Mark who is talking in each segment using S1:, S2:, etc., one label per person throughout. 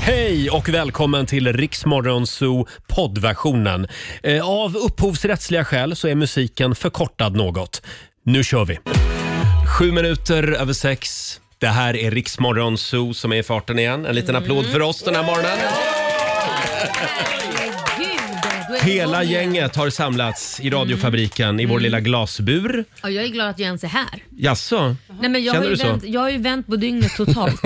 S1: Hej och välkommen till Riksmorgon Zoo poddversionen. Eh, Av upphovsrättsliga skäl så är musiken förkortad något. Nu kör vi! Sju minuter över sex. Det här är Riksmorgon Zoo som är i farten igen. En liten applåd för oss den här morgonen.
S2: Herregud, då är det
S1: Hela
S2: igång igen.
S1: gänget har samlats i radiofabriken i vår lilla glasbur.
S2: Ja, jag är glad att jag ens är här.
S1: Jaså?
S2: Nej, men jag,
S1: Känner
S2: har ju
S1: du så?
S2: vänt, jag har ju vänt på dygnet totalt.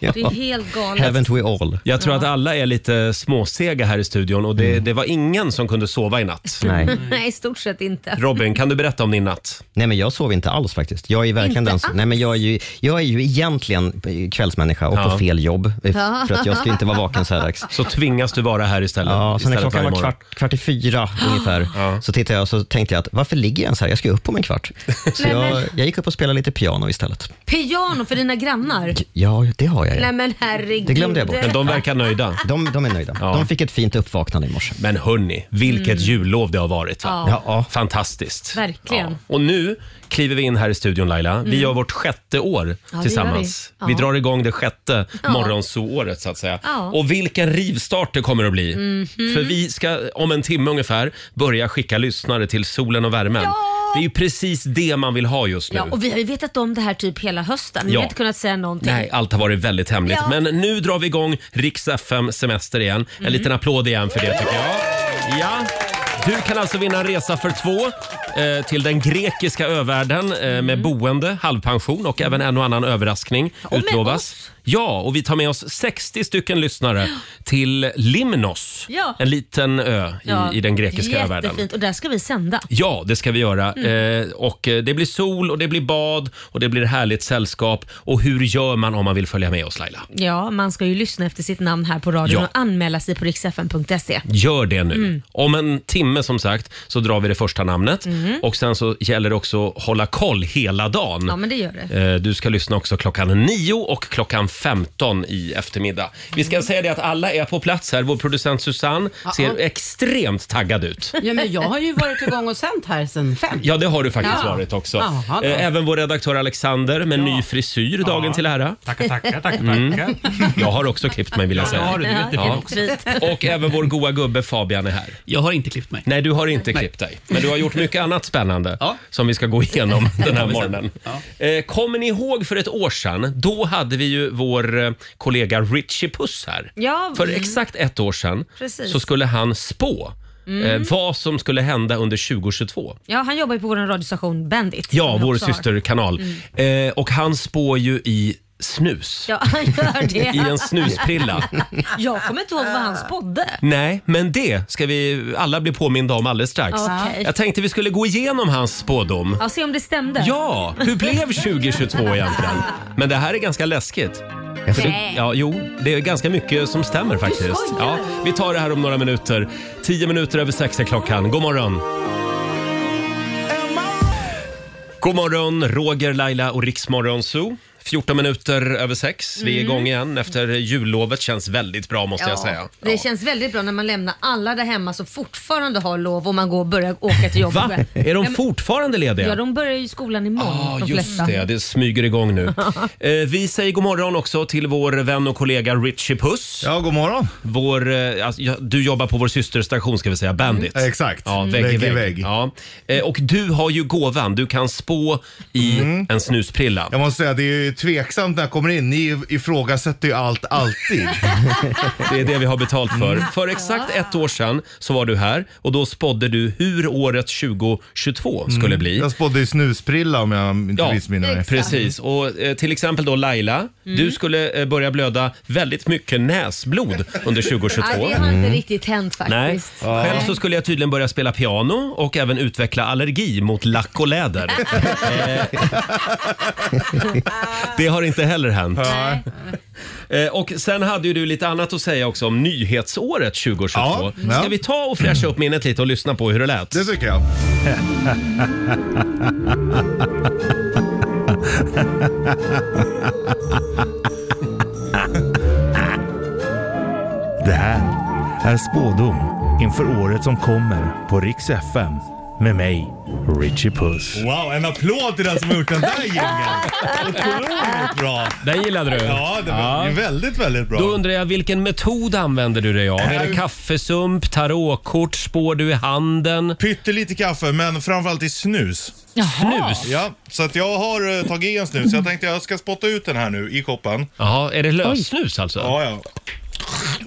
S2: Det är helt galet.
S3: Haven't we all?
S1: Jag tror att alla är lite småsega här i studion och det, det var ingen som kunde sova i natt.
S3: Mm. Nej.
S2: Nej, i stort sett inte.
S1: Robin, kan du berätta om din natt?
S3: Nej, men jag sov inte alls faktiskt. Jag är verkligen
S2: Inte
S3: den som, Nej, men jag är ju, jag är ju egentligen eh, kvällsmänniska och
S1: Ja.
S3: på fel jobb. eh, För att jag ska inte vara vaken så här dags.
S1: Så tvingas du vara här istället.
S3: Ja, så när
S1: istället
S3: klockan
S1: varje
S3: var
S1: morgon.
S3: kvart, kvart i fyra ungefär så tittade jag och så tänkte jag att varför ligger jag ens här? Jag ska ju upp om en kvart. Så
S2: Nej,
S3: jag,
S2: men-
S3: jag gick upp och spelade lite piano istället.
S2: Piano för dina grannar.
S3: Ja, det har jag
S2: Nej
S3: ju.
S2: men herregud.
S3: Det glömde jag bort.
S1: Men de verkar nöjda.
S3: De, de är nöjda. De fick ett fint uppvaknande i morse.
S1: Men hörni, vilket jullov det har varit. Va?
S2: Mm. Ja.
S3: Ja.
S1: Fantastiskt.
S2: Verkligen.
S1: Ja. Och nu kliver vi in här i studion Laila. Vi gör vårt sjätte år
S2: Mm. det
S1: tillsammans.
S2: gör
S1: vi.
S2: vi. Ja.
S1: drar igång det sjätte ja. morgonsoåret så att säga.
S2: Ja. Mhm.
S1: Och vilken rivstart det kommer att bli. För vi ska om en timme ungefär börja skicka lyssnare till solen och värmen. Det är ju precis det man vill ha just nu.
S2: Ja, och vi har ju vetat om det här typ hela hösten. Vi
S1: Ja.
S2: har inte kunnat säga någonting.
S1: Nej, allt har varit väldigt hemligt.
S2: Ja.
S1: Men nu drar vi igång Riks FM Semester igen. En
S2: Mm.
S1: liten applåd igen för det tycker jag. Ja. Du kan alltså vinna en resa för två eh, till den grekiska övärlden eh,
S2: Mm.
S1: med boende, halvpension och även en och annan överraskning
S2: med
S1: utlovas.
S2: oss.
S1: Ja, och vi tar med oss 60 stycken lyssnare till Limnos,
S2: Ja.
S1: en liten ö i,
S2: Ja,
S1: i den grekiska övärlden.
S2: Jättefint och där ska vi sända.
S1: Ja, det ska vi göra.
S2: Mm.
S1: Eh, och eh, det blir sol och det blir bad och det blir härligt sällskap. Och hur gör man om man vill följa med oss Laila?
S2: Ja, man ska ju lyssna efter sitt namn här på radion
S1: Ja. Mm.
S2: och anmäla sig på riksfn.se.
S1: Gör det nu.
S2: Mm.
S1: Om en timme som sagt så drar vi det första namnet. Och sen så gäller det också att hålla koll hela dagen.
S2: Mm. Ja, men det gör det.
S1: Eh, Du ska lyssna också klockan 9 och klockan 15 i eftermiddag. Vi
S2: Mm.
S1: ska säga det att alla är på plats här. Vår producent Susanne ser extremt taggad ut.
S4: Ja, men jag har ju varit igång och sänt här sedan fem.
S1: Ja, det har du faktiskt
S4: Ja.
S1: varit också.
S4: Jaha då.
S1: Eh, Även vår redaktör Alexander med ny frisyr dagen till ära. Mm.
S5: Tackar, tackar, tackar. tackar.
S1: Jag har också klippt mig vill jag
S5: Ja, det har du.
S1: säga.
S5: Det är jättefint
S1: Ja.
S5: också.
S2: Fint.
S1: Och även vår goa gubbe Fabian är här.
S5: Jag har inte klippt mig.
S1: Nej, du har inte klippt dig. Men du har gjort mycket annat spännande som vi ska gå igenom den här morgonen. Eh, Kommer ni ihåg för ett år sedan? Då hade vi ju vår eh, kollega Richie Puss här.
S2: Ja,
S1: För
S2: mm.
S1: exakt ett år sedan
S2: Precis.
S1: så skulle han spå eh, vad som skulle hända under 2022.
S2: Ja, han jobbar ju på vår radiostation Bandit.
S1: Ja,
S2: som vi
S1: vår
S2: också har. Mm.
S1: systerkanal. Eh, och han spår ju i snus.
S2: Ja, han gör
S1: I
S2: det.
S1: en snusprilla.
S2: Jag kommer inte ihåg vad han spådde.
S1: Nej, men det ska vi alla bli påminda om alldeles strax.
S2: Okej.
S1: Jag tänkte vi skulle gå igenom hans spådom.
S2: Ja, se om det stämde.
S1: Ja, hur blev 2022 egentligen? Men det här är ganska läskigt. För det,
S2: Nej.
S1: ja, jo, det är ganska mycket som stämmer faktiskt. Ja, vi tar det här om några minuter. Tio minuter över sex är klockan. God morgon! God morgon, Roger, Laila och Riksmorgon Zoo. 14 minuter över sex. Vi är igång igen efter jullovet. Känns väldigt bra måste jag säga.
S2: Det känns väldigt bra när man lämnar alla där hemma som fortfarande har lov och man går och börjar åka till jobbet.
S1: Va? Är de fortfarande lediga?
S2: Ja, de börjar ju skolan imorgon
S1: Ja,
S2: de
S1: Ah, just
S2: flesta.
S1: det. Det smyger igång nu. eh, vi säger god morgon också till vår vän och kollega Richie Puss.
S6: Ja, god morgon.
S1: Vår, eh, alltså, ja, du jobbar på vår systerstation ska vi säga, Bandit.
S6: Mm, Exakt.
S1: Ja, vägg i vägg. Ja. Eh, och du har ju gåvan, du kan spå i
S6: Mm.
S1: en snusprilla.
S6: Jag måste säga, det är ju tveksamt när jag kommer in. Ni ifrågasätter ju allt alltid.
S1: Det är det vi har betalt för.
S6: Mm.
S1: För exakt ett år sedan så var du här och då spådde du hur året 2022 skulle bli.
S6: Mm. Jag spådde ju snusprilla om jag inte
S1: Ja,
S6: missminner mig. Mm.
S1: Precis, och eh, till exempel då Laila, du skulle eh, börja blöda väldigt mycket näsblod under 2022.
S2: Ja, det har inte riktigt hänt
S1: Mm. Nej,
S2: faktiskt.
S1: själv så skulle jag tydligen börja spela piano och även utveckla allergi mot lack och läder. Eh, det har inte heller hänt.
S2: Nej.
S1: Eh, Och sen hade ju du lite annat att säga också om nyhetsåret 2022.
S6: Ja,
S1: Ska
S6: ja.
S1: vi ta och fräscha upp minnet lite och lyssna på hur det lät?
S6: Det tycker jag.
S7: Det här är Spådom inför året som kommer på Rix FM med mig,
S1: Richie Puss.
S7: Wow, en applåd till den som har gjort den där jingeln. Otroligt bra.
S1: Den gillade du?
S7: Ja, det var ju väldigt, väldigt bra.
S1: Då undrar jag vilken metod använder du dig av? Är
S6: Äh.
S1: det kaffesump, tarotkort, spår du i handen?
S7: Pyttelite kaffe, men framförallt i snus.
S1: Snus?
S7: Ja, så att jag har eh, tagit i en snus. Jag tänkte jag ska spotta ut den här nu i koppen.
S1: Jaha, är det lössnus alltså?
S7: Ja, ja.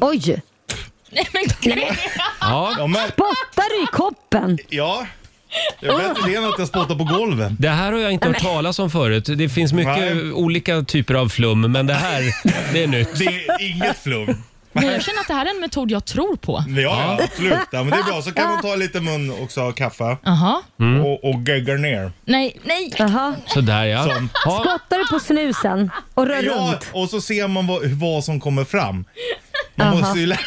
S8: Oj!
S2: Nej, men,
S7: Ja, men,
S8: Spottar du i koppen?
S7: ja. Det är bättre det än att jag spottar på golvet.
S1: Det här har jag inte hört talas om förut. Det finns mycket
S7: Nej.
S1: olika typer av flum, men det här, det är nytt.
S7: Det är inget flum.
S9: Men jag känner att det här är en metod jag tror på.
S7: Ja, ja, absolut. Ja, men det är bra. Så kan man ta lite mun också av kaffe
S9: Jaha.
S7: och, och gegga ner.
S9: Nej, nej.
S8: Jaha.
S1: Mm. Sådär ja.
S7: Som-
S1: ja.
S8: Spottar du på snusen och rör
S7: Ja,
S8: runt?
S7: och så ser man vad, vad som kommer fram. Man måste ju lä-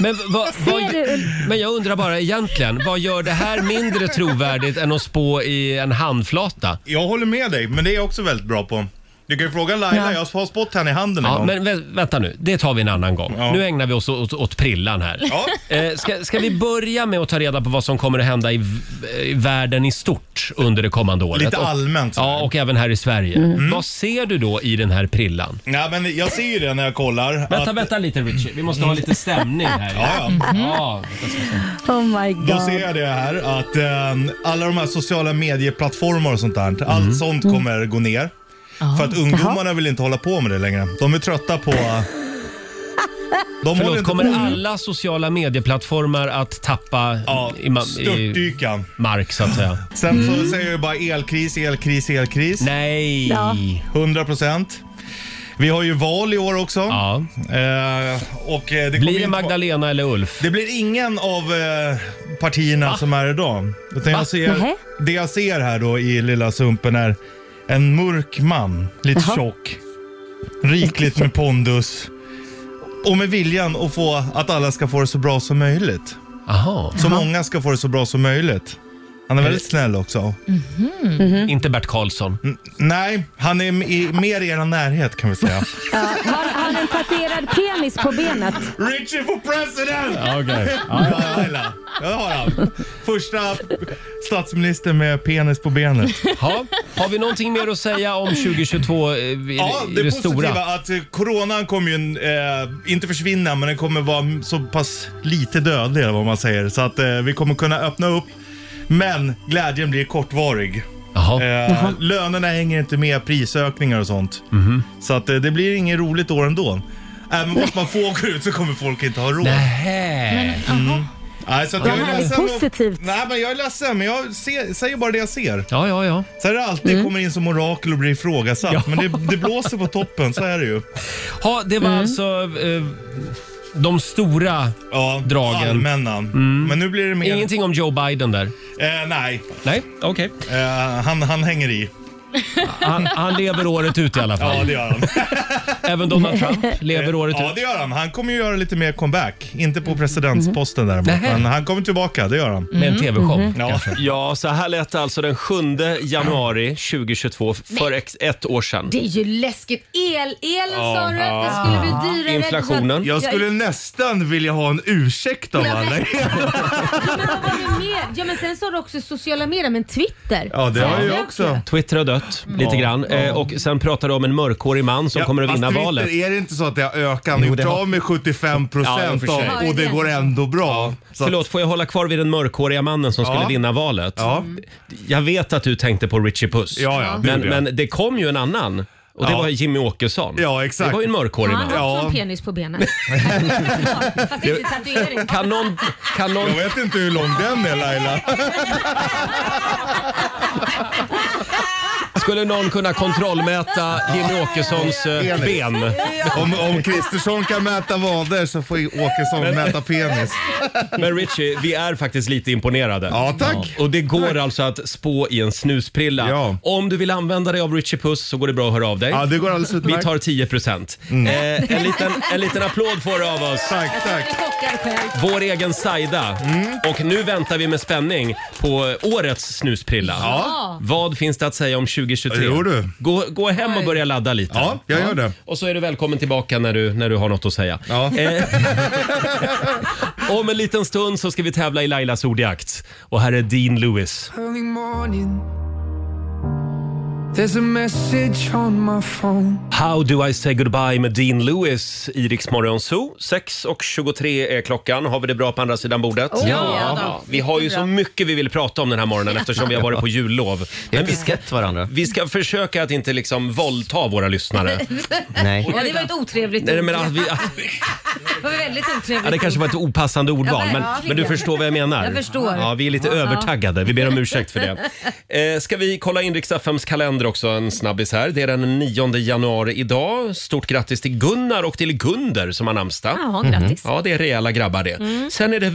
S1: Men, vad,
S8: Ser
S1: vad,
S8: du?
S1: men jag undrar bara egentligen, vad gör det här mindre trovärdigt än att spå i en handflata?
S7: jag håller med dig, men det är jag också väldigt bra på. Du kan ju fråga Laila, jag har spott henne i handen en
S1: Ja,
S7: gång.
S1: men vä vänta nu, det tar vi en annan gång.
S7: Ja.
S1: Nu ägnar vi oss åt, åt prillan här.
S7: Ja.
S1: Eh, ska, ska vi börja med att ta reda på vad som kommer att hända i, v- i världen i stort under det kommande året?
S7: Lite
S1: Och-
S7: allmänt.
S1: Ja, och även här i Sverige. Vad ser du då i den här prillan?
S7: Nej, men jag ser ju det när jag kollar.
S1: Vänta,
S7: att,
S1: vänta lite Richie. Vi måste ha lite stämning här.
S7: Ja,
S1: ja.
S8: Oh my
S7: Då ser
S8: god.
S7: jag det här att eh, alla de här sociala medieplattformar och sånt där, allt sånt kommer gå ner. För att ungdomarna vill inte hålla på med det längre. De är trötta på... De håller
S1: Förlåt,
S7: inte på
S1: kommer
S7: med
S1: alla sociala medieplattformar att tappa
S7: Ja,
S1: i, ma- i
S7: störtdykan.
S1: mark så att säga?
S7: Sen så säger jag ju bara elkris, elkris, elkris.
S1: Mm. Nej!
S8: Ja.
S7: 100 procent. Vi har ju val i år också.
S1: Ja.
S7: Eh, och eh, det kommer ju
S1: Blir det
S7: inte-
S1: Magdalena eller Ulf?
S7: Det blir ingen av eh, partierna som är idag. Utan jag
S8: Nähä.
S7: ser, det jag ser här då i Lilla Sumpen är en mörk man, lite tjock, rikligt med pondus och med viljan att få att alla ska få det så bra som möjligt.
S1: Aha.
S7: Så många ska få det så bra som möjligt. Han är väldigt snäll också.
S8: Mm-hmm.
S10: Mm.
S9: Mm-hmm.
S1: Inte Bert Karlsson.
S7: Nej, han är i, mer i er närhet kan vi säga.
S8: Ja, har har han en tatuerad penis på benet?
S7: Richie for president!
S1: Okay.
S7: Ja, Laila. Ja, det har han. Första statsminister med penis på benet.
S1: Ha. Har vi någonting mer att säga om 2022 eh, i,
S7: Ja,
S1: i
S7: det,
S1: det,
S7: positiva
S1: stora?
S7: att eh, coronan kommer ju eh, inte försvinna, men den kommer vara så pass lite dödlig eller vad man säger. Så att eh, vi kommer kunna öppna upp, men glädjen blir kortvarig.
S1: Jaha.
S7: Eh, lönerna hänger inte med prisökningar och sånt.
S1: Mhm.
S7: Så att eh, det blir inget roligt år ändå. Även fast man får gå ut så kommer folk inte ha råd. Nej.
S1: Nähä.
S7: så att jag
S8: Det här
S7: är
S8: är
S7: ledsen och-
S8: positivt.
S7: Nej, men jag är ledsen, men jag ser, säger bara det jag ser.
S1: Ja, ja, ja.
S7: Sen är det alltid kommer in som orakel och blir ifrågasatt, men det, det blåser på toppen, så är det ju.
S1: Ha, det var alltså eh, de stora.
S7: Ja,
S1: Dragen. Mm.
S7: allmänna. Men nu blir det mer...
S1: Ingenting om Joe Biden där?
S7: Eh, nej,
S1: Nej, okej.
S7: eh, han, han hänger i.
S1: Han, han lever året ut i alla fall.
S7: Ja, det gör han.
S1: Även Donald Trump lever året
S7: ja,
S1: ut.
S7: det gör han. Han kommer ju göra lite mer comeback. Inte på presidentsposten däremot,
S1: Mm. Nähä.
S7: men han kommer tillbaka, det gör han.
S1: Med en tv-show.
S7: Ja.
S1: Ja, så här lät det alltså den 7 januari 2022, för ex- ett år sedan.
S2: det är ju läskigt. El, elen sa du att det skulle
S1: Ah.
S2: bli dyrare.
S1: Inflationen.
S6: Jag skulle nästan vilja ha en ursäkt av
S2: Ja, men-
S6: alla.
S2: Ja, men vad var det mer? Ja, men sen sa du också sociala medier, men Twitter.
S6: Ja, det har jag också.
S1: Twitter har dött lite grann. Eh, och sen pratar du om en mörkhårig man som
S6: Ja,
S1: kommer att
S6: fast
S1: vinna
S6: Twitter,
S1: valet.
S6: Är det inte så att det har ökat? Han har gjort av med 75
S1: Ja, i och för
S6: procent
S1: sig.
S6: av och det går ändå bra. Så att-
S1: Förlåt, får jag hålla kvar vid den mörkhåriga mannen som skulle vinna valet? Mm.
S6: Ja.
S1: Jag vet att du tänkte på Richie Puss.
S6: Ja, ja, det
S1: men,
S6: gjorde jag.
S1: men det kom ju en annan. Och det
S6: Ja.
S1: var Jimmy Åkesson.
S6: Ja, exakt.
S1: Det var ju en mörkhårig
S2: Han
S1: man.
S2: har också
S6: Ja.
S2: en penis på benen. Fast inte tatuering.
S1: Kan någon, kan någon,
S7: Jag vet inte hur lång den är Laila.
S1: skulle någon kunna kontrollmäta Jimmy Åkessons eh, ben?
S6: Om, om Kristersson kan mäta vader så får ju Åkesson mäta penis.
S1: Men Richie, vi är faktiskt lite imponerade.
S6: Ja, tack.
S1: Och det går alltså att spå i en snusprilla.
S6: Ja.
S1: Om du vill använda dig av Richie Puss så går det bra att höra av dig.
S6: Ja, det går alldeles
S1: Vi
S6: utmärkt. Mm.
S1: tar 10 procent. Eh, en, liten, en liten applåd får du av oss.
S6: Tack,
S2: Jag är
S6: tack.
S2: chockad själv.
S1: Vår egen Saida.
S6: Mm.
S1: Och nu väntar vi med spänning på årets snusprilla.
S2: Ja.
S1: Vad finns det att säga om om 2023.
S6: Jo, du.
S1: Gå, gå hem och börja ladda lite.
S6: Ja, jag gör det.
S1: Och så är du välkommen tillbaka när du, när du har något att säga.
S6: Ja.
S1: Eh, om en liten stund så ska vi tävla i Lailas ordjakt. Och här är Dean Lewis.
S10: Early morning. There's a message on my phone.
S1: How do I say goodbye med Dean Lewis i Rix Morgon Zoo. 6.23 är klockan. Har vi det bra på andra sidan bordet?
S2: Oh, ja då.
S1: Vi har ju
S2: Jättebra.
S1: så mycket vi vill prata om den här morgonen eftersom vi har varit på jullov.
S3: Vi har
S1: Men vi,
S3: inte sett varandra.
S1: vi ska försöka att inte liksom våldta våra lyssnare.
S3: Nej.
S2: Ja, det var ett otrevligt
S1: Nej,
S2: ord.
S1: men att vi,
S2: Det var väldigt otrevligt.
S1: ja, det kanske var ett opassande ordval,
S2: Ja,
S1: men,
S2: ja.
S1: men du förstår vad jag menar.
S2: Jag förstår.
S1: Ja, vi är lite övertaggade. Vi ber om ursäkt för det. Eh, ska vi kolla in Rix FMs kalender också, en snabbis här. Det är den 9 januari idag. Stort grattis till Gunnar och till Gunder som har namnsdag. Mhm.
S2: Jaha, grattis. Mm.
S1: Ja, det är rejäla grabbar det. Sen är det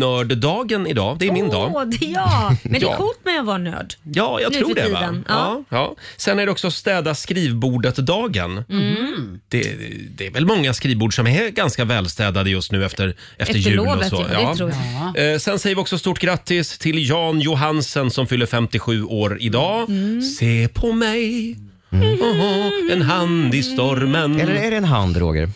S1: världsnörddagen idag. Det är min dag.
S2: Åh, det, ja. Men det
S1: Ja.
S2: är coolt med att vara nörd.
S1: Ja, jag
S2: nu
S1: tror
S2: för
S1: det. Va?
S2: tiden.
S1: Ja.
S2: Ja.
S1: Ja. Sen är det också städa skrivbordet-dagen.
S2: Mm.
S1: Det, det är väl många skrivbord som är ganska välstädade just nu efter, efter,
S2: Efter
S1: jul och
S2: lovet,
S1: så.
S2: ja, det tror jag.
S1: Eh, Sen säger vi också stort grattis till Jan Johansen som fyller 57 år idag.
S2: Mm.
S1: Se på mig, Oho, en hand i stormen.
S3: Eller är det en hand, Roger?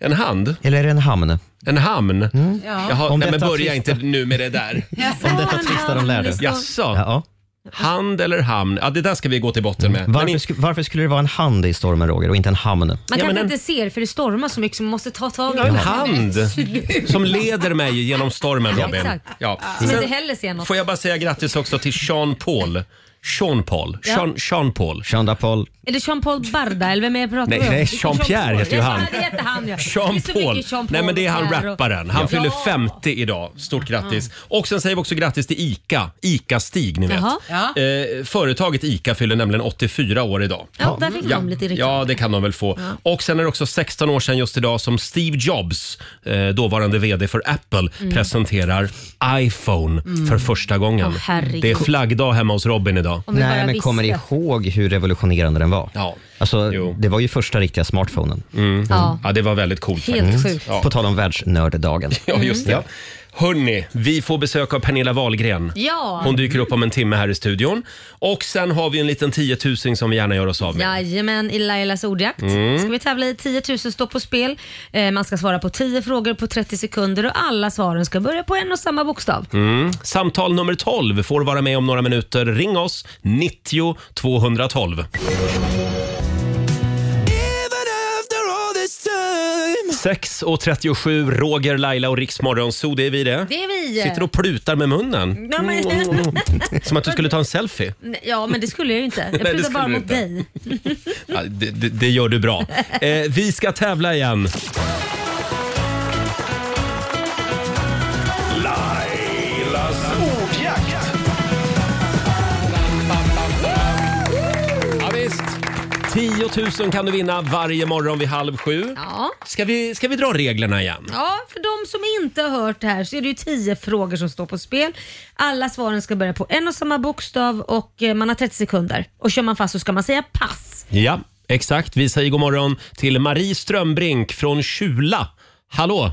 S1: En hand?
S3: Eller är det en hamn? Mm.
S1: En hamn? Jaha,
S3: Om
S1: nej, men
S3: detta
S1: börja
S3: trista-
S1: inte nu med det där.
S3: Om detta trista de lärde.
S1: Jaså?
S3: Ja.
S1: Hand eller hamn? Ja, det där ska vi gå till botten med. Men
S3: Mm. Varför,
S1: in-
S3: sku- varför skulle det vara en hand i stormen, Roger, och inte en hamn?
S2: Man
S1: Ja,
S2: kanske
S1: men en-
S2: inte ser för det stormar så mycket så man måste ta tag i
S1: en
S2: det.
S1: hand som leder mig genom stormen,
S2: Ja,
S1: Robin.
S2: exakt.
S1: Ja.
S2: Som
S1: Sen
S2: inte heller ser något.
S1: får jag bara säga grattis också till Sean Paul. Sean Paul. Sean, Sean Paul.
S3: Jean d'Apol.
S2: Är det Jean-Paul Barda eller vem är jag pratar
S1: Nej,
S2: om?
S1: nej,
S2: Vilken
S1: Jean-Pierre
S2: Jean-Paul?
S1: heter ju han.
S2: Ja, det heter han ja. Det
S1: Sean
S2: är så mycket
S1: Paul.
S2: Jean-Paul
S1: Nej men det är han
S2: här och-
S1: rapparen. Han
S2: Ja.
S1: fyller 50 idag. Stort grattis. Och sen säger vi också grattis till ICA. ICA-Stig ni vet.
S2: Jaha.
S1: Eh, företaget ICA fyller nämligen 84 år idag.
S2: Ja, där fick de lite reklam.
S1: Ja, det kan de väl få. Och sen är det också 16 år sedan just idag som Steve Jobs, eh, dåvarande VD för Apple, presenterar iPhone för första gången.
S2: Mm. Åh, herregud.
S1: det är flaggdag hemma hos Robin idag.
S2: Om vi bara
S3: Nej, men
S2: visste.
S3: kommer ihåg hur revolutionerande den var.
S1: Ja.
S3: Alltså,
S1: Jo. Mm.
S3: det var ju första riktiga smartphonen.
S2: Ja.
S1: Ja, det var väldigt coolt
S2: Helt
S1: faktiskt.
S2: sjukt.
S1: Ja.
S3: På tal om världsnörddagen.
S1: Ja, just det. Hörni, vi får besök av Pernilla Wahlgren.
S2: Ja.
S1: Hon dyker upp om en timme här i studion. Och sen har vi en liten tiotusing som vi gärna gör oss av med. Mm.
S2: Jajamän, i Lailas ordjakt ska vi tävla i 10 000 står på spel. Eh, man ska svara på 10 frågor på 30 sekunder och alla svaren ska börja på en och samma bokstav.
S1: Mm. Samtal nummer 12 får vara med om några minuter. Ring oss, 90 212. 6.37, Roger, Laila och Riksmorgon. Så det är vi det.
S2: Det är vi. Mm.
S1: Sitter och plutar med munnen.
S2: ja, men,
S1: Mm. Som att du skulle ta en selfie.
S2: ja, men det skulle jag ju inte. Jag
S1: det
S2: prutar bara
S1: skulle du
S2: mot
S1: inte.
S2: dig.
S1: Ja, det, det, det gör du bra. Eh, vi ska tävla igen. Ja, visst. 10 000 kan du vinna varje morgon vid halv sju.
S2: Ja.
S1: Ska vi, ska vi dra reglerna igen?
S2: Ja, för de som inte har hört det här så är det ju 10 frågor som står på spel. Alla svaren ska börja på en och samma bokstav och eh, man har 30 sekunder. Och kör man fast så ska man säga pass.
S1: Ja, exakt. Vi säger god morgon till Marie Strömbrink från Kjula. Hallå!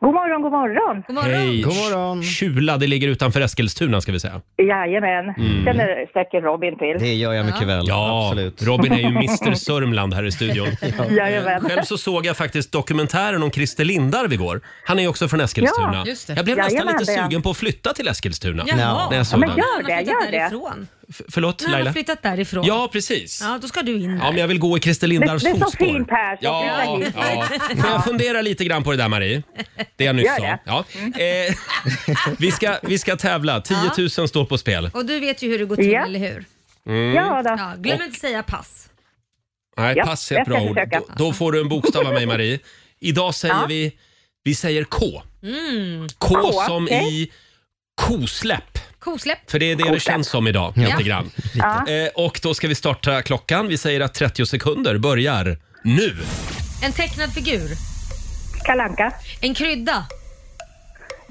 S11: God morgon, god morgon.
S2: God morgon.
S1: God morgon. Kjula, det ligger utanför Eskilstuna ska vi säga.
S11: Jajamän, mm. känner säkert Robin till.
S3: Det gör jag mycket väl.
S1: Ja,
S3: Absolut.
S1: Robin är ju Mr Sörmland här i studion.
S11: Jajamän.
S1: Själv så såg jag faktiskt dokumentären om Christer Lindarw igår. Han är ju också från Eskilstuna.
S4: Ja, just det.
S1: Jag blev nästan
S11: Jajamän,
S1: lite
S11: det är han.
S1: sugen på att flytta till Eskilstuna.
S2: Jaha.
S1: När jag såg
S11: men
S1: den.
S11: gör
S2: Han har
S11: det,
S2: flyttat
S11: gör det.
S2: därifrån.
S1: F- Förlåt
S2: Nej, han har
S1: Laila?
S2: flyttat därifrån.
S1: Ja, precis.
S2: Ja, då ska du in där.
S1: Ja, men jag vill gå i Christer Lindarws
S11: Det- det är så
S1: fotspår.
S11: fint här, så
S1: ja,
S11: flytta hit.
S1: ja. Får jag fundera lite grann på det där Marie? Det jag nyss
S11: Gör
S1: sa.
S11: det.
S1: Ja. Eh, vi, ska, vi ska tävla. 10 000 står på spel. Mm.
S2: Och du vet ju hur det går till,
S11: Ja. Mm.
S2: eller hur?
S11: Ja, då.
S2: Ja, glöm inte säga pass.
S1: Nej,
S11: Ja,
S1: pass är ett
S11: jag
S1: bra
S11: ska
S1: ord.
S11: försöka.
S1: Då, då får du en bokstav av mig, Marie. Idag säger
S11: Ja.
S1: vi, vi säger K.
S2: Mm.
S1: K
S11: K,
S1: som
S11: okej.
S1: i kosläpp.
S2: Kosläpp.
S1: För det är det det känns som idag, lite grann.
S11: Ja.
S1: Eh, och då ska vi starta klockan. Vi säger att 30 sekunder börjar nu.
S2: En tecknad figur.
S11: Kalanka,
S2: En krydda.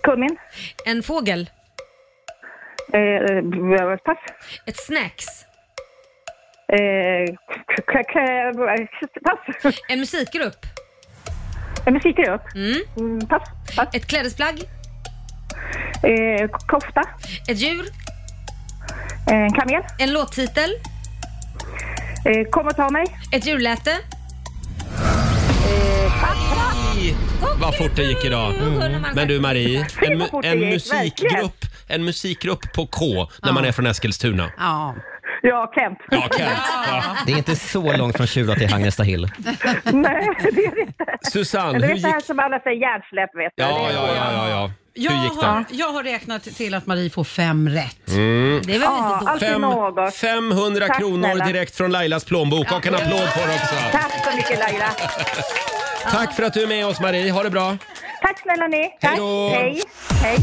S11: kummin,
S2: En fågel.
S11: eh, pass,
S2: Ett snacks.
S11: eh, k- k- k- pass,
S2: En musikgrupp.
S11: Eh, musikgrupp, Mm, pass, pass,
S2: Ett klädesplagg.
S11: eh, k- kofta,
S2: Ett djur.
S11: eh, kamel,
S2: En låttitel.
S11: Eh, kom och ta mig.
S2: Ett djurläte.
S1: Vad fort det gick idag. Mm. Men du Marie,
S11: Se
S1: en,
S11: Mm. vad
S1: mu-
S11: fort det
S1: en,
S11: gick,
S1: musikgrupp, en musikgrupp på K när man är från Eskilstuna.
S11: Ja. Ja, Kent.
S1: Ja, Kent.
S3: Det är inte så långt från Tjura till Hagnesta Hill.
S11: Nej, det är det inte.
S1: Susanne,
S11: Men det
S1: hur
S11: är så
S1: gick...
S11: här som alla säger, hjärnsläpp vet du.
S1: Ja, ja, ja, ja, ja. Hur
S4: Jag
S1: gick det?
S4: har, jag har räknat till att Marie får fem rätt.
S1: Mm.
S2: Det är väl
S11: Ja,
S2: inte dåligt?
S11: alltid
S1: Fem,
S11: något.
S1: 500
S11: Tack,
S1: kronor
S11: snälla.
S1: direkt från Lailas plånbok och en applåd för också.
S11: Tack så mycket Laila.
S1: Tack för att du är med oss Marie, ha det bra.
S11: Tack snälla ni. Tack.
S1: Hej då.
S11: Hej. Hej.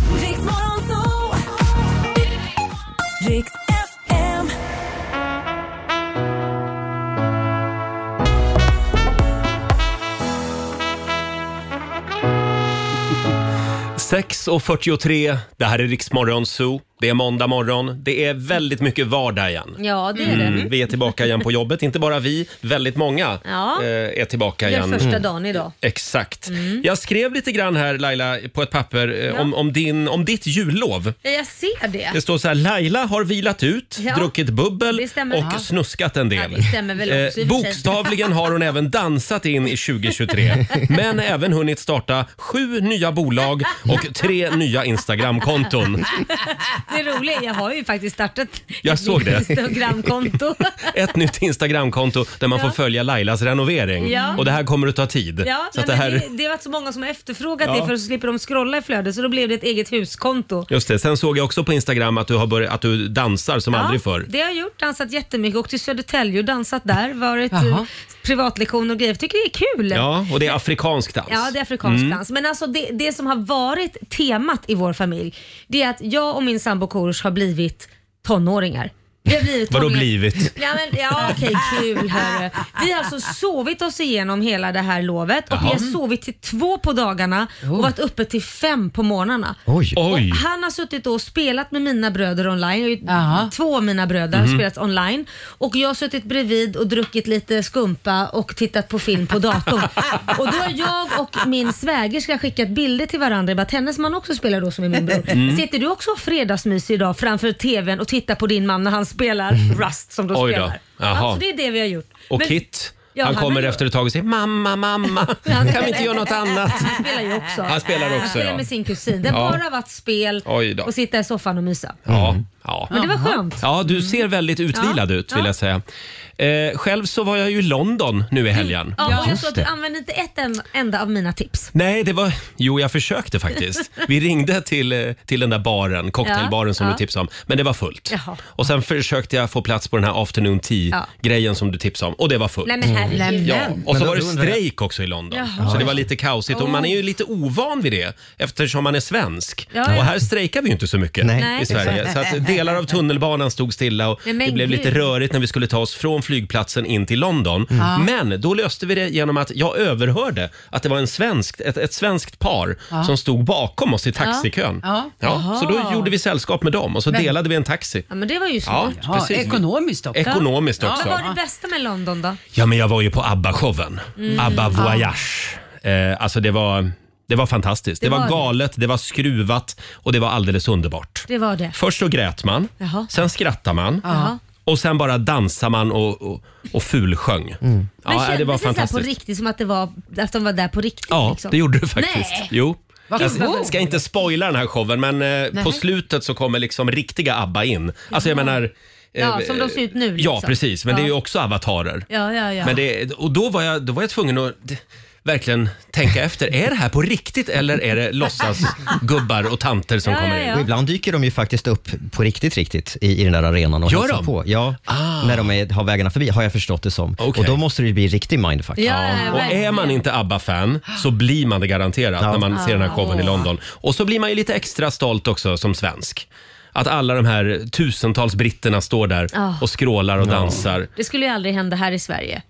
S1: Sex och 43, det här är Riksmorgon Zoo. Det är måndag morgon, det är väldigt mycket vardag igen.
S2: Ja, det är det.
S1: Mm, vi är tillbaka igen på jobbet, inte bara vi, väldigt många
S2: Ja.
S1: eh, är tillbaka
S2: Det är
S1: igen.
S2: första dagen Mm. idag.
S1: Exakt. Jag skrev lite grann här Laila på ett papper eh, om, om, din, om ditt jullov.
S2: Ja, Jag ser det.
S1: Det står så här, Laila har vilat ut,
S2: Ja.
S1: druckit bubbel
S2: Det stämmer.
S1: och
S2: Ja.
S1: snuskat en del.
S2: Ja, det stämmer väl
S1: Eh,
S2: också i och för sig.
S1: bokstavligen har hon även dansat in i 2023, men även hunnit starta sju nya bolag och tre nya Instagramkonton.
S2: Det roliga är jag har ju faktiskt startat
S1: Jag
S2: ett
S1: såg det.
S2: Instagramkonto.
S1: Ett nytt Instagramkonto där man får följa Lailas renovering.
S2: Ja.
S1: Och det här kommer att ta tid.
S2: Ja,
S1: så att det
S2: nej, men
S1: här...
S2: det, det har varit så många som har efterfrågat
S1: Ja.
S2: det för så slipper de scrolla i flödet så då blev det ett eget huskonto.
S1: Just det. Sen såg jag också på Instagram att du, har börjat, att du dansar som aldrig förr.
S2: Det har jag gjort, dansat jättemycket, åkt till Södertälje och dansat där, varit
S4: Jaha.
S2: eh, privatlektioner och grejer. Jag tycker det är kul.
S1: Ja, Mm. och det är afrikansk dans.
S2: Ja, det är afrikansk dans. Men alltså det, det som har varit temat i vår familj, det är att jag och min sambo Korosh har blivit tonåringar. Vi har blivit
S1: Vadå
S2: tonåringar.
S1: blivit?
S2: Ja, men, ja okej, kul hörru. Vi har alltså sovit oss igenom hela det här lovet och vi har sovit till två på dagarna och varit uppe till fem på morgnarna.
S3: Oj.
S1: Oj!
S2: Typ. Och han har suttit och spelat med mina bröder online. Och ju-
S4: Jaha.
S2: Två av mina bröder
S1: Mhm.
S2: har spelats online. Och jag har suttit bredvid och druckit lite skumpa och tittat på film på datorn. och då har jag och min svägerska skickat bilder till varandra. Jag bara, hennes man också spelar då som är min bror.
S1: Mm.
S2: Sitter du också och fredagsmys idag framför TVn och tittar på din man när han spelar Rust som då
S1: Mm. Oj då.
S2: spelar?
S1: Jaha.
S2: Ja, så det är det vi har gjort.
S1: Och
S2: Men-
S1: Kit,
S2: Ja,
S1: han
S2: han
S1: kommer
S2: har-
S1: efter ett tag och säger “mamma, mamma, kan vi inte göra något annat?”
S2: Han spelar ju också.
S1: Han spelar också,
S2: Han spelar
S1: ja.
S2: med sin kusin. Det har
S1: Ja.
S2: bara varit spel
S1: Oj då.
S2: och sitta i soffan och mysa.
S1: Ja, ja.
S2: Men det var skönt. Mm.
S1: ja, du ser väldigt utvilad
S2: Ja,
S1: ut vill
S2: ja.
S1: jag säga. Eh, själv så var jag ju i London nu i helgen.
S2: Ja, och jag sa att du använde inte ett en- enda av mina tips.
S1: Nej, det var... Jo, jag försökte faktiskt. Vi ringde till, eh, till den där baren, cocktailbaren som
S2: Ja,
S1: du
S2: ja.
S1: tipsade om, men det var fullt.
S2: Jaha.
S1: Och sen försökte jag få plats på den här afternoon tea-grejen som du tipsade om och det var fullt. Mm.
S2: Nej men herregud.
S1: Ja,
S3: Men
S1: och så
S3: då-
S1: var det
S3: då undrar jag-
S1: strejk också i London.
S2: Jaha.
S1: Så det var lite kaosigt. Och man är ju lite ovan vid det eftersom man är svensk.
S2: Ja,
S1: Och
S2: ja.
S1: här strejkar vi ju inte så mycket
S3: Nej.
S1: i
S2: Nej.
S1: Sverige. Så att delar av tunnelbanan stod stilla och
S2: Nej, men
S1: det blev
S2: gud. Mm.
S1: lite rörigt när vi skulle ta oss från flygplatsen in till London. Men då löste vi det genom att jag överhörde att det var en svensk, ett, ett svenskt par som stod bakom oss i taxikön.
S4: Ja.
S1: så då gjorde vi sällskap med dem och så delade vi en taxi.
S2: Ja men det var ju
S1: Ja,
S2: smart.
S4: Ja,
S1: precis.
S4: ekonomiskt också.
S1: Ekonomiskt
S2: Vad
S1: också.
S2: var det bästa med London då?
S1: Ja, men jag var ju på ABBA-showen.
S2: Mm.
S1: ABBA Voyage. Eh, alltså det var, det var fantastiskt. Det,
S2: Det
S1: var,
S2: var det.
S1: galet, det var skruvat och det var alldeles underbart.
S2: Det var det.
S1: Först så grät man,
S2: Jaha.
S1: sen skrattade man och sen bara dansade man och, och, och fulsjöng.
S2: Men
S1: Ja, det var
S2: kändes det så här på
S1: fantastiskt.
S2: riktigt som att, det var, att de var där på riktigt?
S1: Ja,
S2: liksom?
S1: det gjorde det faktiskt.
S2: Nej.
S1: Jo.
S4: Vad
S1: Jag
S4: kul.
S1: ska inte spoila den här showen, men eh, på slutet så kommer liksom riktiga ABBA in. Alltså jag menar... eh,
S2: Ja, som de ser ut nu,
S1: Ja,
S2: liksom.
S1: precis. Men det är ju
S2: Ja.
S1: också avatarer.
S2: Ja, ja, ja.
S1: Men det, och då var, jag, då var jag tvungen att d- verkligen tänka efter. Är det här på riktigt eller är det låtsas gubbar och tanter som
S2: Ja,
S1: kommer
S2: ja,
S1: in?
S2: ja.
S3: Och ibland dyker de ju faktiskt upp på riktigt, riktigt i, i den där arenan och
S1: Gör
S3: hälsar
S1: de? Ah.
S3: på. Ja, när de är, har vägarna förbi, har jag förstått det som.
S1: Okej.
S3: Och då måste det ju bli riktig mindfuck.
S2: Ja, ja,
S1: Och
S2: verkligen.
S1: är man inte ABBA-fan så blir man det garanterat
S3: Ja.
S1: när man ser den här showen i London. Och så blir man ju lite extra stolt också som svensk. Att alla de här tusentals britterna står där
S2: Ja.
S1: och skrålar och dansar.
S2: det skulle ju aldrig hända här i Sverige.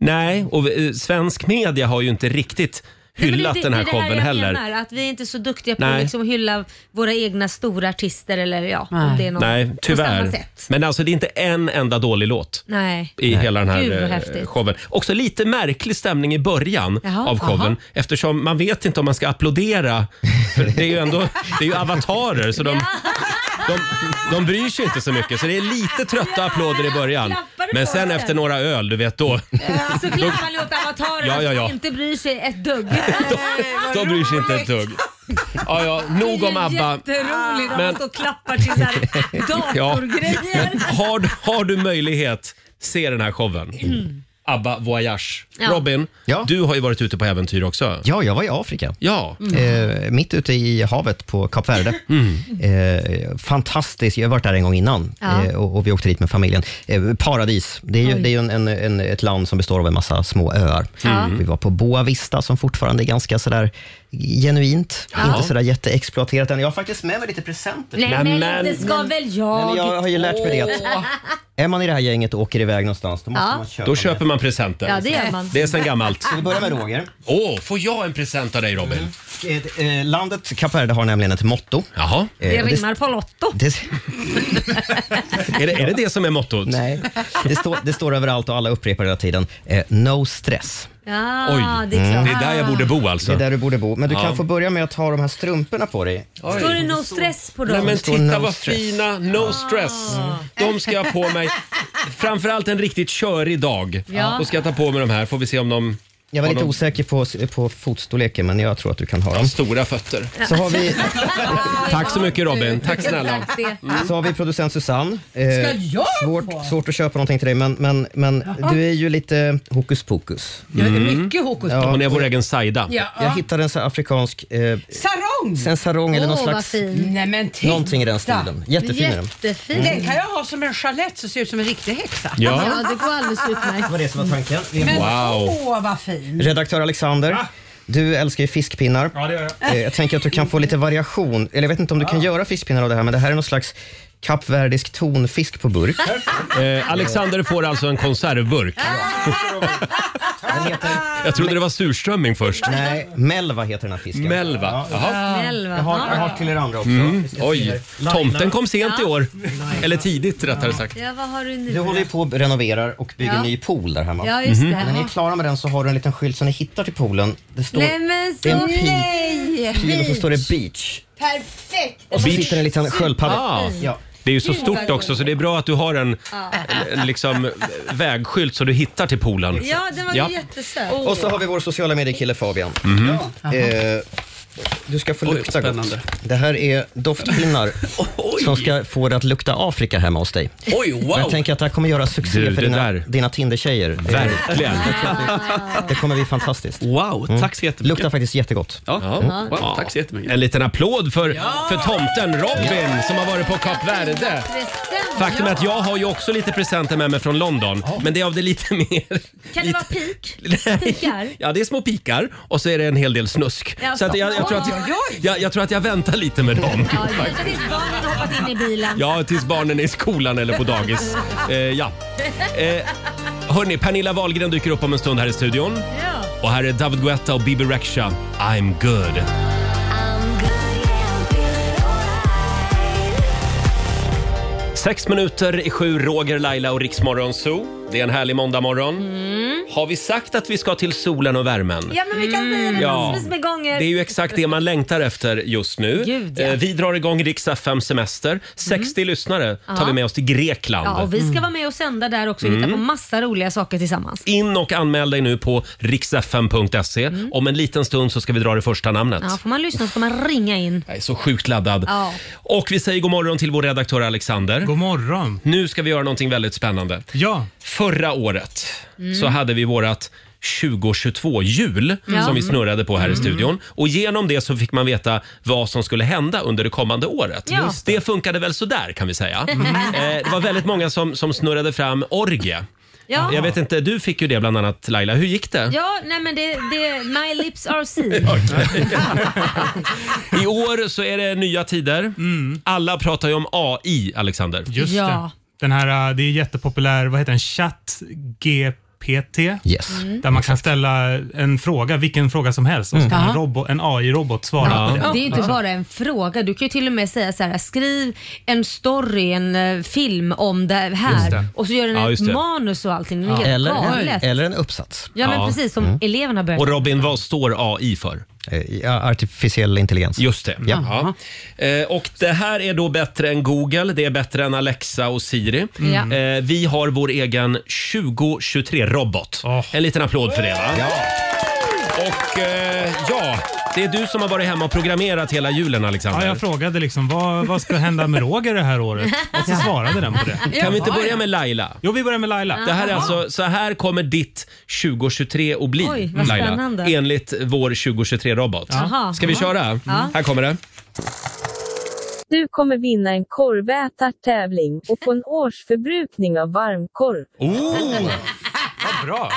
S1: Nej, och eh, svensk media har ju inte riktigt
S2: Nej, men
S1: hyllat
S2: det,
S1: den här
S2: det,
S1: showen
S2: det är det här jag
S1: heller.
S2: Menar, att vi är inte så duktiga på
S1: Nej.
S2: att liksom hylla våra egna stora artister eller ja, om det är någon,
S1: Nej,
S2: på samma
S1: tyvärr.
S2: sätt.
S1: Men alltså det är inte en enda dålig låt.
S2: Nej.
S1: i hela den
S2: Gud, vad
S1: här eh,
S2: häftigt.
S1: showen. Också lite märklig stämning i början
S2: Jaha,
S1: av showen
S2: aha.
S1: eftersom man vet inte om man ska applådera. För det är ju ändå det är ju avatarer så de, de, de bryr sig inte så mycket. Så det är lite trötta applåder i början.
S2: Klappar
S1: Men sen efter några öl, du vet då.
S2: Så
S1: då,
S2: klipper man åt
S1: Ja,
S2: avatarerna
S1: ja, ja.
S2: som inte bryr sig ett dugg.
S1: då bryr sig inte ett dugg. Ja, ja, nog om ABBA.
S2: Jätteroligt om
S1: Men-
S2: man står och klappar till så här datorgrejer.
S1: Men har, du- har du möjlighet, se den här showen. ABBA Voyage.
S2: Mm. Ja.
S1: Robin, du har ju varit ute på äventyr också.
S3: Ja, jag var i Afrika.
S1: Ja. Mm.
S3: Eh, mitt ute i havet på Kap Verde. Eh, fantastiskt. Jag har varit där en gång innan
S12: Ja.
S3: eh, och, och vi åkte dit med familjen. Eh, paradis. Det är ju,
S12: Oj.
S3: det är ju en, en, en, ett land som består av en massa små öar.
S12: Ja.
S1: Mm.
S3: Vi var på Boa Vista som fortfarande är ganska sådär genuint.
S12: Ja.
S3: Inte sådär jätteexploaterat än. Jag har faktiskt med mig lite presenter.
S2: Nej men, inte ska väl jag?
S3: Nej, men jag har ju lärt mig det att- Eh, Är man i det här gänget och åker iväg någonstans, då måste
S2: Ja.
S3: man köpa
S1: Då köper man presenter.
S2: Ja, det gör man.
S1: Det är sen gammalt.
S3: Ska vi börja med Roger?
S1: Åh, får jag en present av dig Robin?
S3: Eh, eh, Landet Kap Verde har nämligen ett motto. Eh,
S1: Jaha.
S2: Det rimmar på Lotto.
S3: Det,
S1: är, det, är det det som är mottot?
S3: Nej. Det, står, det står överallt och alla upprepar det hela tiden. Eh, no stress.
S2: Ja, det är
S1: Mm.
S2: klart.
S1: bo alltså.
S3: Det är där du borde bo. Men du
S1: Ja.
S3: kan få börja med att ta de här strumporna på dig.
S2: Står det no stress på dem? Ah.
S1: Nej, men
S3: Det står
S1: titta
S3: no
S1: vad
S3: stress.
S1: fina, no stress. De ska jag på mig. Framförallt en riktigt körig dag.
S3: Ja.
S1: Då ska jag ta på mig de här, får vi se om de...
S3: Jag var
S1: har
S3: lite
S1: de-
S3: osäker på, på fotstorleken, men jag tror att du kan ha
S1: Ja,
S3: dem.
S1: stora fötter.
S3: Så har vi...
S1: Tack så mycket Robin, tack
S3: Exakt
S1: snälla. Mm.
S3: Så har vi producent Susanne. Eh,
S1: Ska jag
S3: svårt, svårt att köpa någonting till dig, men, men, men du är ju lite hokus pokus.
S4: Mm. Mycket hokus pokus.
S1: Hon är vår egen Saida.
S4: Ja.
S3: Jag hittade en sån här afrikansk... Eh,
S4: Sarong!
S3: En sarong eller någon
S4: Åh, vad
S3: slags...
S4: fin. Nej, men titta.
S3: Någonting i den stilen. Jättefin är den.
S2: Jättefin.
S4: Den kan jag ha som en chalett som ser ut som en riktig häxa.
S3: Ja.
S2: Ja, det går alldeles utmärkt.
S3: Det var det som var tanken. Vi-
S4: Men
S3: Wow.
S4: åh vad fin.
S3: Redaktör Alexander, du älskar ju fiskpinnar.
S4: Ja, det gör jag.
S3: Eh, Jag Ah. tänker att du kan få lite variation. Eller jag vet inte om du kan göra fiskpinnar av det här, men det här är någon slags kapverdisk tonfisk på burk.
S1: Eh, Alexander får alltså en konservburk. Jag trodde det var surströmming först.
S3: Nej, melva heter den här fisken.
S1: Melva, jaha.
S2: Melva.
S3: Jag har, jag har till er andra också.
S1: Mm.
S3: Vi ska se
S1: Oj,
S3: här.
S1: tomten kom sent i år.
S3: Laila.
S1: Eller tidigt rättare sagt.
S2: Ja, vad har du nu?
S3: Du håller ju på och renoverar och bygger
S2: Ja.
S3: en ny pool där hemma.
S2: Ja,
S1: Mhm.
S2: just det.
S3: När ni är klara med den så har du en liten skylt som ni hittar till poolen. Det står
S2: Nej men så...
S3: Det är en pil.
S2: Nej!
S3: pil och så står det beach.
S2: Perfekt!
S3: Och så sitter det en liten sköldpadda.
S1: Ah.
S3: Ja.
S1: Det är ju så stort också så det är bra att du har en,
S2: Ja.
S1: en liksom vägskylt så du hittar till poolen.
S2: Ja, den var ju jättesöt.
S10: Oh.
S3: Och så har vi vår sociala mediekille Fabian.
S1: Mhm.
S3: Eh, du ska få lukta gott. Det här är doftpinnar som ska få det att lukta Afrika hemma hos dig.
S1: Oj, wow.
S3: Och Jag tänker att det här kommer göra succé
S1: Du, det
S3: för dina,
S1: där.
S3: dina Tinder-tjejer.
S1: Verkligen.
S3: Det kommer bli fantastiskt. Mm.
S1: Wow, tack så jättemycket.
S3: Luktar faktiskt jättegott. Mm.
S1: Ja.
S3: Ja.
S1: Wow, tack så jättemycket. En liten applåd för, för tomten Robin som har varit på Kap Verde.
S2: Present,
S1: Faktum är
S2: ja.
S1: att jag har ju också lite presenter med mig från London, men det är av det lite mer...
S2: Kan det vara pik? Pikar?
S1: Ja, det är små pikar och så är det en hel del snusk.
S2: Ja,
S1: Så att jag, jag, tror att
S2: oj,
S1: jag,
S2: oj.
S1: jag, jag tror att jag väntar lite med dem.
S2: Ja, givetvis barnet har hoppat in i bilen.
S1: Ja, tills barnen är i skolan eller på dagis. Eh, ja. Eh, hörni, Pernilla Wahlgren dyker upp om en stund här i studion. Och här är David Guetta och Bibi Rexha. I'm good. Sex minuter i sju, Roger, Laila och Riksmorgon Zoo. Det är en härlig måndagmorgon.
S2: Mm.
S1: Har vi sagt att vi ska till solen och värmen?
S2: Ja men vi kan säga det
S1: Ja.
S2: massvis Mm. med gånger.
S1: Det är ju exakt det man längtar efter just nu.
S2: Gud, ja. Mm.
S1: Eh, Vi drar igång Rix FM Semester. 60 lyssnare tar
S2: Ja.
S1: vi med oss till Grekland.
S2: Ja, och vi
S3: Mm.
S2: ska vara med och sända där också och hitta
S1: Mm.
S2: på massa roliga saker tillsammans.
S1: In och anmäl dig nu på riksfm.se. Om en liten stund så ska vi dra det första namnet.
S2: Mm. Ja, får man lyssna så får man ringa in.
S1: Jag är så sjukt laddad.
S2: Ja.
S1: Och vi säger god morgon till vår redaktör Alexander. God morgon. Nu ska vi göra någonting väldigt spännande. Ja. Förra året
S5: Mm.
S1: så hade vi vårat 2022-hjul
S5: Ja.
S1: som vi snurrade på här i
S5: Mm.
S1: studion. Och genom det så fick man veta vad som skulle hända under det kommande året.
S5: Ja. Just
S1: Det funkade väl sådär kan vi säga.
S2: Mm.
S1: eh, det var väldigt många som, som snurrade fram orgie.
S2: Ja.
S1: Jag vet inte, du fick ju det bland annat Laila. Hur gick det?
S2: Ja, nej men det, det My lips are sealed.
S1: I år så är det nya tider. Alla pratar ju om AI, Alexander.
S5: Just det. Den här, äh, det är jättepopulär, vad heter den? Chatt GPT.
S3: Yes.
S2: Mm.
S5: Där man kan ställa en fråga, vilken fråga som helst,
S1: Mm.
S5: och så kan en,
S2: Jaha.
S5: robo- en AI-robot svara på det.
S2: Det är ju inte
S5: Liksom.
S2: bara en fråga. Du kan ju till och med säga så här: skriv en story, en eh, film om det här.
S3: Just det.
S2: Och så gör den
S3: Ja,
S2: ett
S3: just det.
S2: manus och allting. Det är helt
S3: Eller,
S2: galet.
S3: eller en uppsats. Mm.
S2: Ja, men precis som eleverna börjar.
S1: Och Robin, vad står AI för?
S3: Eh, ja, Artificiell intelligens.
S1: Just det.
S3: Ja.
S1: Ja. Eh, Och det här är då bättre än Google, det är bättre än Alexa och Siri.
S3: Mm.
S1: Eh, Vi har vår egen 2023-robot. En liten applåd för det va? Och eh, ja, det är du som har varit hemma och programmerat hela julen Alexander.
S5: Ja, jag frågade liksom vad, vad ska hända med Roger det här året? Och så
S1: Ja.
S5: svarade den på det.
S1: Kan vi inte börja med Laila?
S5: Jo, vi börjar med Laila.
S1: Det här är alltså, så här kommer ditt 2023 att bli,
S2: Oj, vad
S1: Laila.
S2: spännande.
S1: Enligt vår 2023-robot.
S2: Jaha.
S1: Ska vi köra?
S12: Ja.
S1: Här kommer det.
S12: Du kommer vinna en korvätartävling och få en årsförbrukning av varmkorv.
S1: Oh,
S5: bra!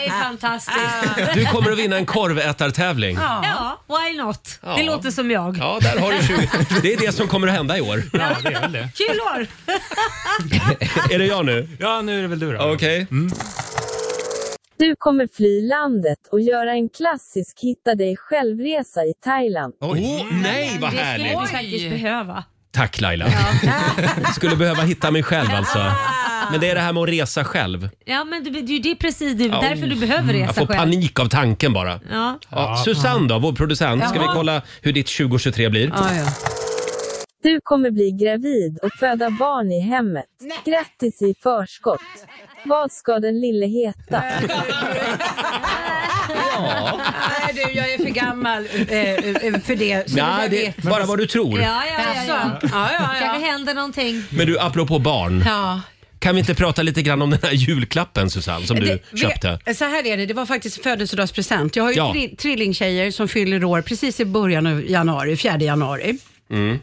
S2: Det är fantastiskt.
S1: Du kommer att vinna en korvätartävling.
S2: Ja, why not? Det låter som jag.
S1: Ja, där har du 20. Det är det som kommer att hända i år.
S5: Ja, det är väl det.
S2: Kul år!
S1: Är det jag nu?
S5: Ja, nu är det väl du då. Mm.
S1: Okej.
S12: Du kommer fly landet och göra en klassisk hitta dig självresa i Thailand.
S1: Åh, nej vad
S2: Det skulle vi
S1: härligt!
S2: faktiskt behöva.
S1: Tack Laila. Skulle behöva hitta mig själv alltså. Men det är det här med att resa själv.
S2: Ja, men det, det är ju det precis det, är
S1: Ja. Mm.
S2: därför du behöver resa
S1: Jag får
S2: själv.
S1: panik av tanken bara.
S2: Ja.
S1: Ja, Susanne då, vår producent. Ska vi
S12: Jaha.
S1: kolla hur ditt 2023 blir?
S12: Du kommer bli gravid och föda barn i hemmet. Grattis i förskott! Vad ska den lille heta?
S4: Nej du, jag är för gammal eh, eh, för det. så
S1: Nej,
S4: där
S1: det är
S4: vet
S1: bara
S4: jag.
S1: vad du tror.
S2: Ja, ja, ja. ja.
S4: Alltså, ja, ja, ja.
S2: kanske händer någonting.
S1: Men du, apropå barn.
S4: Ja.
S1: Kan vi inte prata lite grann om den här julklappen Susanne, som du
S4: Det-
S1: köpte?
S4: Vet, så här är det, det var faktiskt födelsedagspresent. Jag har ju
S1: Ja.
S4: tri- trillingtjejer som fyller år precis i början av januari, 4 januari.
S1: Mm.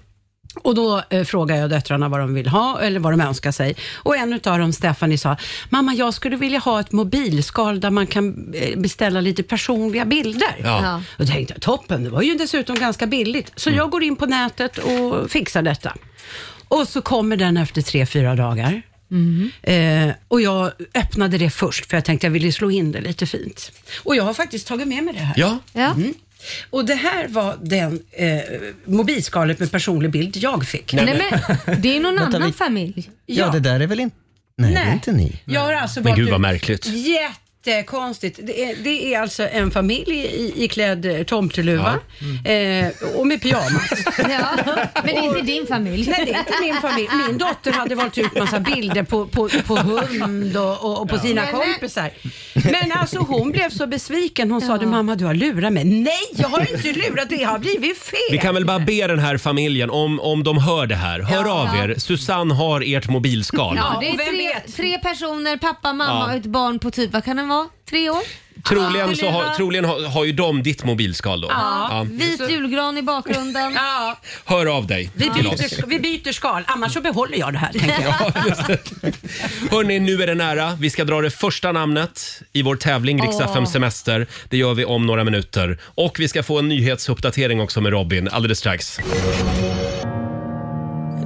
S4: Och då eh, frågar jag döttrarna vad de vill ha eller vad de önskar sig. Och en av dem, Stephanie, sa, mamma jag skulle vilja ha ett mobilskal där man kan eh, beställa lite personliga bilder.
S1: Ja. Ja.
S4: Och då tänkte jag, toppen, det var ju dessutom ganska billigt. Så jag går in på nätet och fixar detta. Och så kommer den efter tre, fyra dagar.
S13: Mm-hmm.
S4: Eh, och jag öppnade det först för jag tänkte jag ville slå in det lite fint. Och jag har faktiskt tagit med mig det här.
S1: Ja.
S13: Mm-hmm.
S4: Mm. Och det här var den eh, mobilskalet med personlig bild jag fick.
S2: Nej, men det är någon
S4: Vänta,
S2: annan
S4: vi-
S2: familj.
S4: Ja.
S3: det där är väl inte... Nej, det är
S4: Nej.
S3: inte ni.
S4: Jag har alltså
S3: Men
S4: valt
S3: gud, vad
S4: ut-
S3: märkligt.
S4: Jättekonstigt. Det är, det är alltså en familj i, iklädd eh, tomteluva eh, och med pyjamas.
S2: Ja, men det är inte din familj.
S4: Nej, det är inte min familj. Min dotter hade valt ut massa bilder på, på, på hund och, och, och på
S2: Ja.
S4: sina
S2: Men-
S4: kompisar. Men alltså hon blev så besviken. Hon sa du mamma du har lurat mig. Nej, jag har inte lurat dig. Det har blivit fel.
S1: Vi kan väl bara be den här familjen, om, om de hör det här, hör
S2: Ja.
S1: av er. Susanne har ert mobilskal.
S2: Ja, det är tre, tre personer, pappa,
S1: Ja.
S2: mamma och ett barn på typ, vad kan den vara? Tre år?
S1: Troligen, så har,
S2: Luva.
S1: troligen har, har ju de ditt mobilskal då.
S2: Ja.
S1: Ja.
S2: Vit julgran i bakgrunden.
S4: Ja.
S1: Hör av dig
S4: Vi
S1: till oss.
S4: byter, vi byter skal, annars så behåller jag det här. Tänker jag.
S1: Hörni, nu är det nära. Vi ska dra det första namnet i vår tävling Rix
S4: Åh.
S1: FM Semester. Det gör vi om några minuter. Och vi ska få en nyhetsuppdatering också med Robin alldeles strax.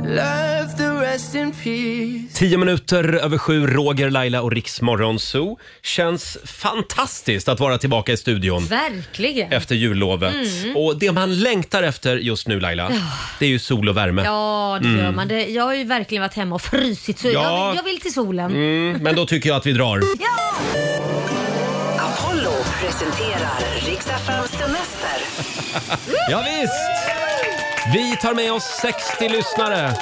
S10: Love the rest in peace.
S1: Tio minuter över sju, Roger, Laila och Rix Morgonzoo. Känns fantastiskt att vara tillbaka i studion.
S2: Verkligen.
S1: efter jullovet.
S2: Mm.
S1: Och det man längtar efter just nu Laila,
S2: Ja.
S1: det är ju sol och värme.
S2: Ja, det gör
S1: Mm.
S2: man. Det, jag har ju verkligen varit hemma och frysit så
S1: Ja.
S2: jag, vill, jag vill till solen.
S1: Mm, men då tycker jag att vi drar.
S14: Apollo presenterar Riks-FMs semester.
S1: Ja, visst! Vi tar med oss 60 lyssnare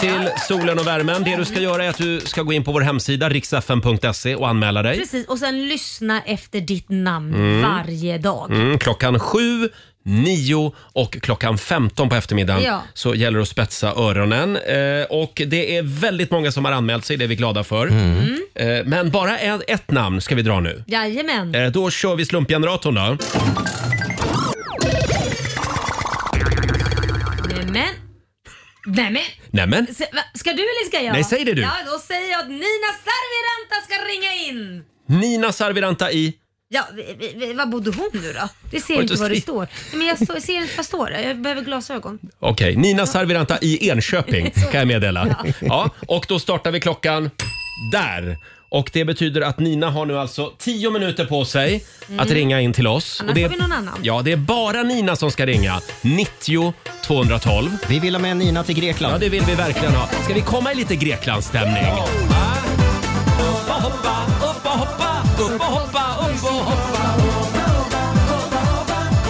S1: till solen och värmen. Det du ska göra är att du ska gå in på vår hemsida riksfn.se och anmäla dig.
S2: Precis, och sen lyssna efter ditt namn
S1: Mm.
S2: varje dag.
S1: Mm, klockan sju, nio och klockan 15 på eftermiddagen
S2: Ja.
S1: så gäller det att spetsa öronen. Eh, och det är väldigt många som har anmält sig, det är vi glada för. Eh, men bara ett, ett namn ska vi dra nu.
S2: Jajamän.
S1: Eh, Då kör vi slumpgeneratorn då.
S2: Nämen. Nämen.
S1: Nämen.
S2: S- va- Ska du eller ska jag?
S1: Nej, säg det du.
S2: Ja, då säger jag att Nina Serviranta ska ringa in.
S1: Nina Sarviranta i...
S2: Ja, vi, vi, vi, var bodde hon nu då? Det ser
S1: Oj,
S2: inte
S1: då
S2: vad det
S1: ser-
S2: står. Nej, Men jag står- ser inte vad står det. Jag behöver glasögon.
S1: Okej, Nina Sarviranta i Enköping
S2: Så.
S1: kan jag meddela.
S2: Ja.
S1: Ja, och då startar vi klockan där. Och det betyder att Nina har nu alltså 10 minuter på sig att
S2: Mm.
S1: ringa in till oss.
S2: Annars
S1: och det
S2: får vi någon annan.
S1: Ja, det är bara Nina som ska ringa. 90 212. Vi vill ha med Nina till Grekland. Ja, det vill vi verkligen ha. Ska vi komma i lite Greklandsstämning?
S10: Uppa hoppa, uppa hoppa, uppa hoppa, uppa hoppa.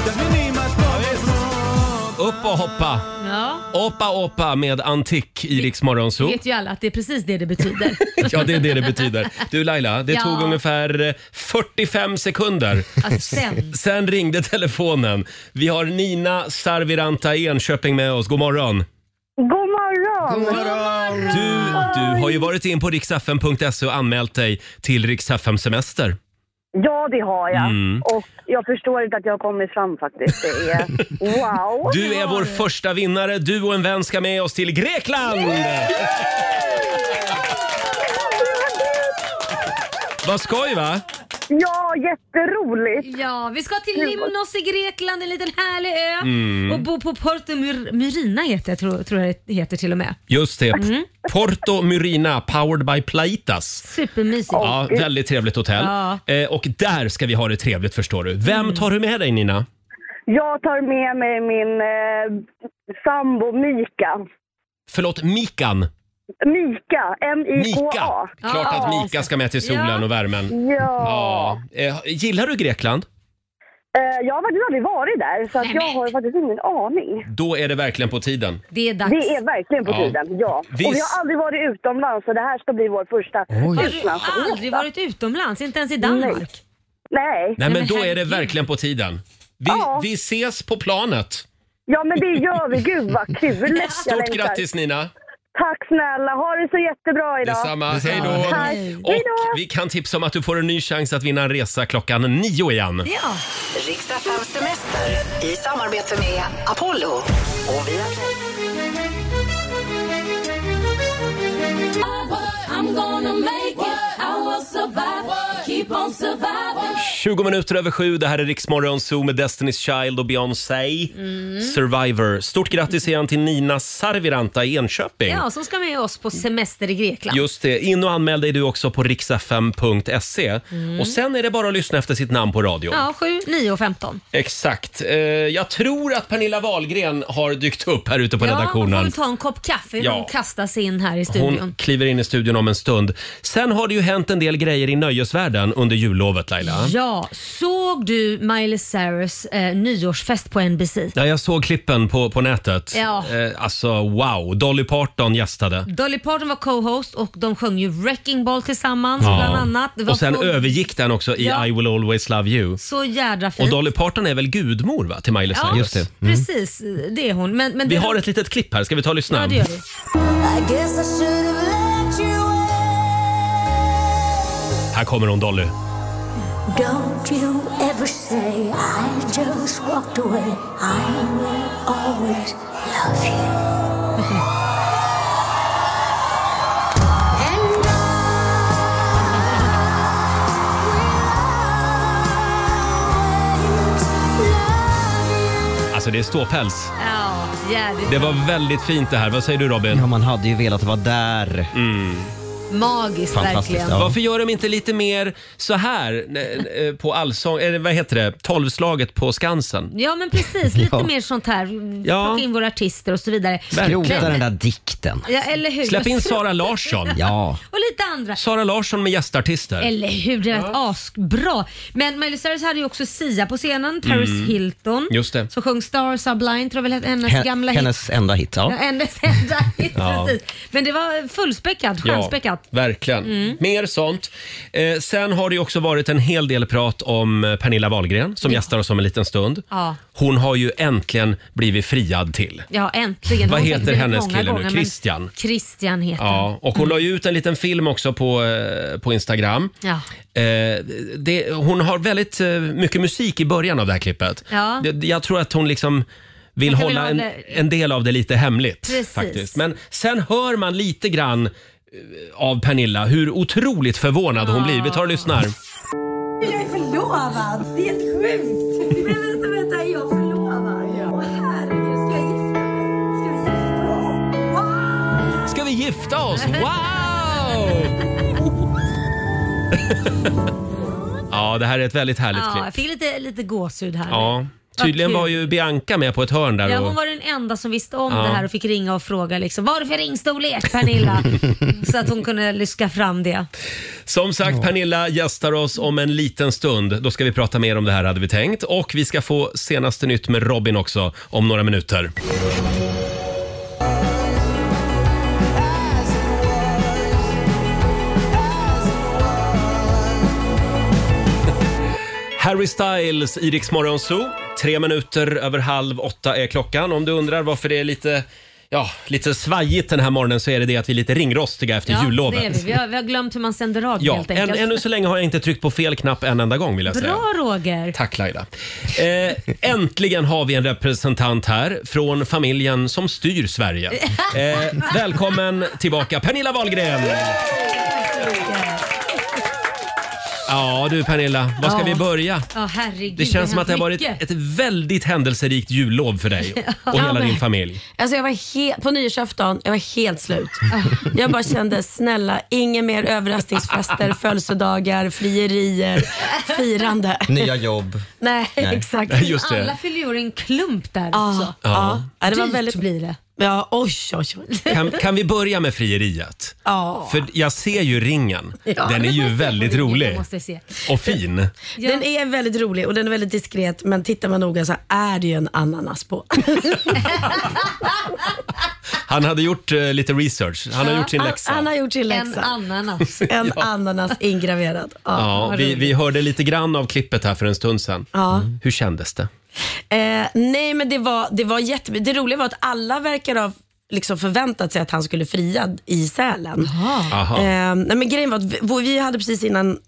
S10: Det blir ny
S1: och hoppa.
S2: Ja.
S1: Oppa oppa med antik i Rix Morgon Zoo.
S2: vet ju alla att det är precis det det betyder.
S1: Ja, det är det det betyder. Du Laila, det
S2: Ja.
S1: tog ungefär eh, 45 sekunder.
S2: Alltså, sen.
S1: sen ringde telefonen. Vi har Nina Sarviranta i Enköping med oss. God morgon.
S11: God morgon! God morgon!
S1: Du, du har ju varit in på riksfm.se och anmält dig till riksfm semester
S11: Ja, det har jag.
S1: Mm.
S11: Och jag förstår inte att jag har kommit fram faktiskt. Det är... Wow!
S1: Du är vår första vinnare. Du och en vän ska med oss till Grekland! Vad skoj va?
S11: Ja, jätteroligt!
S2: Ja, vi ska till Limnos i Grekland, en liten härlig ö.
S1: Mm.
S2: Och bo på Porto Myr- Myrina heter jag, tror, tror jag det heter till och med.
S1: Just det.
S2: Mm.
S1: Porto Myrina, powered by Plaitas.
S2: Supermysigt.
S1: Ja, väldigt trevligt hotell.
S2: Ja.
S1: Eh, och där ska vi ha det trevligt förstår du. Vem tar du med dig Nina?
S11: Jag tar med mig min eh, sambo Mika.
S1: Förlåt, Mikan.
S11: Mika, M-I-K-A.
S1: Klart att Mika ska med till solen
S11: Ja.
S1: och värmen.
S11: Ja.
S1: Ja. Eh, gillar du Grekland?
S11: Eh, Jag har faktiskt aldrig varit där, så att jag har faktiskt ingen aning.
S1: Då är det verkligen på tiden.
S2: Det är dags.
S11: Det är verkligen på
S1: Ja.
S11: tiden, ja.
S1: Vi-
S11: Och vi har aldrig varit utomlands, så det här ska bli vår första
S2: Har du
S11: utlandsresa.
S2: aldrig varit utomlands? Inte ens i Danmark?
S11: Nej.
S1: Nej men då är det verkligen på tiden. Vi,
S11: Ja.
S1: vi ses på planet.
S11: Ja, men det gör vi. Gud vad kul! Jag
S1: Stort
S11: längtar.
S1: grattis Nina.
S11: Tack snälla, ha det så jättebra idag.
S1: Detsamma. Hej då.
S11: Tack.
S1: Och vi kan tipsa om att du får en ny chans att vinna en resa klockan nio igen.
S2: Ja.
S14: Riksdagen semester i samarbete med Apollo och via
S10: I'm gonna make it. I will survive. Keep on surviving.
S1: 20 minuter över sju, det här är Riksmorgon Zoo med Destiny's Child och Beyoncé. Survivor. Stort grattis igen till Nina Sarviranta i Enköping.
S2: Ja, som ska med oss på semester i Grekland.
S1: Just det. In och anmäl dig du också på riksfm.se.
S2: Mm.
S1: Och sen är det bara att lyssna efter sitt namn på radio.
S2: Ja, 7, 9 och 15.
S1: Exakt. Eh, jag tror att Pernilla Wahlgren har dykt upp här ute på
S2: ja, man får
S1: redaktionen.
S2: väl ta en kopp kaffe innan
S1: Ja.
S2: hon kastas in här i studion.
S1: Hon kliver in i studion om en stund. Sen har det ju hänt en del grejer i nöjesvärlden under jullovet Laila.
S2: Ja, såg du Miley Cyrus eh, nyårsfest på NBC?
S1: Ja, jag såg klippen på, på nätet.
S2: Ja. Mm.
S1: Eh, alltså wow, Dolly Parton gästade.
S2: Dolly Parton var co-host och de sjöng ju Wrecking Ball tillsammans
S1: Ja.
S2: bland annat. Det var
S1: Och sen
S2: så,
S1: övergick den också i
S2: Ja.
S1: I will always love you.
S2: så jädra fint.
S1: Och Dolly Parton är väl gudmor va, till Miley
S2: ja,
S1: Cyrus?
S2: Mm. precis. Det är hon. Men, men
S1: Mm. Vi
S2: det-
S1: har ett litet klipp här, ska vi ta och lyssna?
S2: Ja, det gör vi.
S1: Här kommer hon Dolly.
S10: Don't you ever say I just walked away. I will always love you. And
S1: Alltså det är ståpäls.
S2: Ja, jädrigt
S1: Det var väldigt fint det här. Vad säger du Robin? Ja, man hade ju velat vara där. Mm.
S2: magiskt verkligen.
S1: Varför gör de inte lite mer så här eh, eh, på allsång, eller vad heter det, tolvslaget på Skansen?
S2: Ja men precis, lite
S1: Ja.
S2: mer sånt här.
S1: Ja.
S2: Plocka in våra artister och så vidare.
S1: Verkligen.
S2: Men-
S1: dikten.
S2: Ja, eller hur?
S1: Släpp in Sara Larsson. ja.
S2: Och lite andra.
S1: Sara Larsson med gästartister.
S2: Eller hur? Det lät asbra. Men Miley Cyrus hade ju också Sia på scenen, Paris
S3: Mm.
S2: Hilton.
S3: Just det.
S2: Som sjöng Stars Are Blind, tror jag väl hennes
S3: Hen-
S2: gamla hit.
S3: hennes enda hit. Ja.
S2: Ja. Hennes enda hit,
S1: Ja.
S2: precis. Men det var
S1: Ja,
S2: fullspäckat, stjärnspäckat.
S1: verkligen.
S2: Mm.
S1: Mer sånt. Eh, sen har det ju också varit en hel del prat om eh, Pernilla Wahlgren som gästar oss om en liten stund.
S2: Ja.
S1: Hon har ju äntligen blivit friad till.
S2: Ja, äntligen.
S1: Vad
S2: Hon
S1: heter
S2: fick väldigt
S1: hennes
S2: många
S1: kille nu?
S2: gånger, men
S1: Christian?
S2: Christian Mm. heter han.
S1: Ja, och hon la ju ut en liten film också på, eh, på Instagram.
S2: Ja.
S1: Eh, det, hon har väldigt eh, mycket musik i början av det här klippet.
S2: Ja.
S1: Det- Jag tror att hon liksom vill
S2: Man kan
S1: hålla
S2: väl
S1: en,
S2: ha det-
S1: en del av det lite hemligt.
S2: Precis.
S1: Faktiskt. Men sen hör man lite grann eh, av Pernilla hur otroligt förvånad hon blir. Vi tar och lyssnar.
S10: Jag är förlovad! Det är helt sjukt! Men vänta, vänta, är jag förlovad? Åh herregud, ska jag gifta mig? Ska vi gifta oss? Wow!
S1: Ska vi gifta oss? Wow! Ja, det här är ett väldigt härligt
S2: Ja,
S1: klipp.
S2: jag fick lite, lite gåshud här.
S1: Ja. Tydligen
S2: Vad
S1: var
S2: kul.
S1: ju Bianca med på ett hörn där.
S2: Ja,
S1: och...
S2: hon var den enda som visste om
S1: Ja.
S2: det här och fick ringa och fråga liksom, vad är det för ringstorlek Pernilla? så att hon kunde lyska fram det.
S1: Som sagt, Pernilla gästar oss om en liten stund. Då ska vi prata mer om det här hade vi tänkt. Och vi ska få senaste nytt med Robin också om några minuter. Harry Styles i Rix Morgon Zoo. Tre minuter över halv åtta är klockan. Om du undrar varför det är lite, ja, lite svajigt den här morgonen så är det det att vi är lite ringrostiga efter jullovet.
S2: det är vi. Vi, har, vi har glömt hur man sänder radio
S1: Ja,
S2: helt
S1: än,
S2: enkelt.
S1: ännu så länge har jag inte tryckt på fel knapp en enda gång vill jag säga.
S2: Bra Roger!
S1: Tack Laila. Eh, äntligen har vi en representant här från familjen som styr Sverige. Eh, välkommen tillbaka Pernilla Wahlgren! Ja du Pernilla, var ska
S2: Ja.
S1: vi börja?
S2: Ja, herregud.
S1: Det känns som att det har
S2: har
S1: varit
S2: hänt mycket.
S1: ett väldigt händelserikt jullov för dig
S13: Ja.
S1: och hela
S13: Ja, men-
S1: din familj.
S13: Alltså jag var helt, på nyårsafton, jag var helt slut. Jag bara kände, snälla, inga mer överraskningsfester, födelsedagar, frierier, firande.
S3: Nya jobb.
S13: Nej,
S3: Nej.
S13: exakt.
S3: Just det.
S2: Alla fyller ju år i en klump där också.
S13: Ja. Ja, det var
S2: Dyrt
S13: väldigt...
S2: blir det.
S13: Ja, oj, oj, oj.
S1: Kan, kan vi börja med frieriet?
S13: Ja.
S1: För jag ser ju ringen.
S13: Ja,
S1: Den är ju väldigt rolig
S13: måste se.
S1: och fin.
S13: Den är väldigt rolig och den är väldigt diskret men tittar man noga så är det ju en ananas på.
S1: Han hade gjort eh, lite research. Han har gjort sin läxa.
S13: Han har gjort sin läxa. En
S2: ananas.
S13: en ananas ingraverad. Ja,
S1: Ja,
S13: vad
S1: vi,
S13: roligt.
S1: vi hörde lite grann av klippet här för en stund sedan.
S13: Ja.
S1: Hur kändes det?
S13: Eh, nej, men det var, det var jätte... Det roliga var att alla verkar ha liksom förväntat sig att han skulle fria i Sälen.
S10: Aha.
S13: Eh, nej, men grejen var att vi, vår- vi hade precis innan,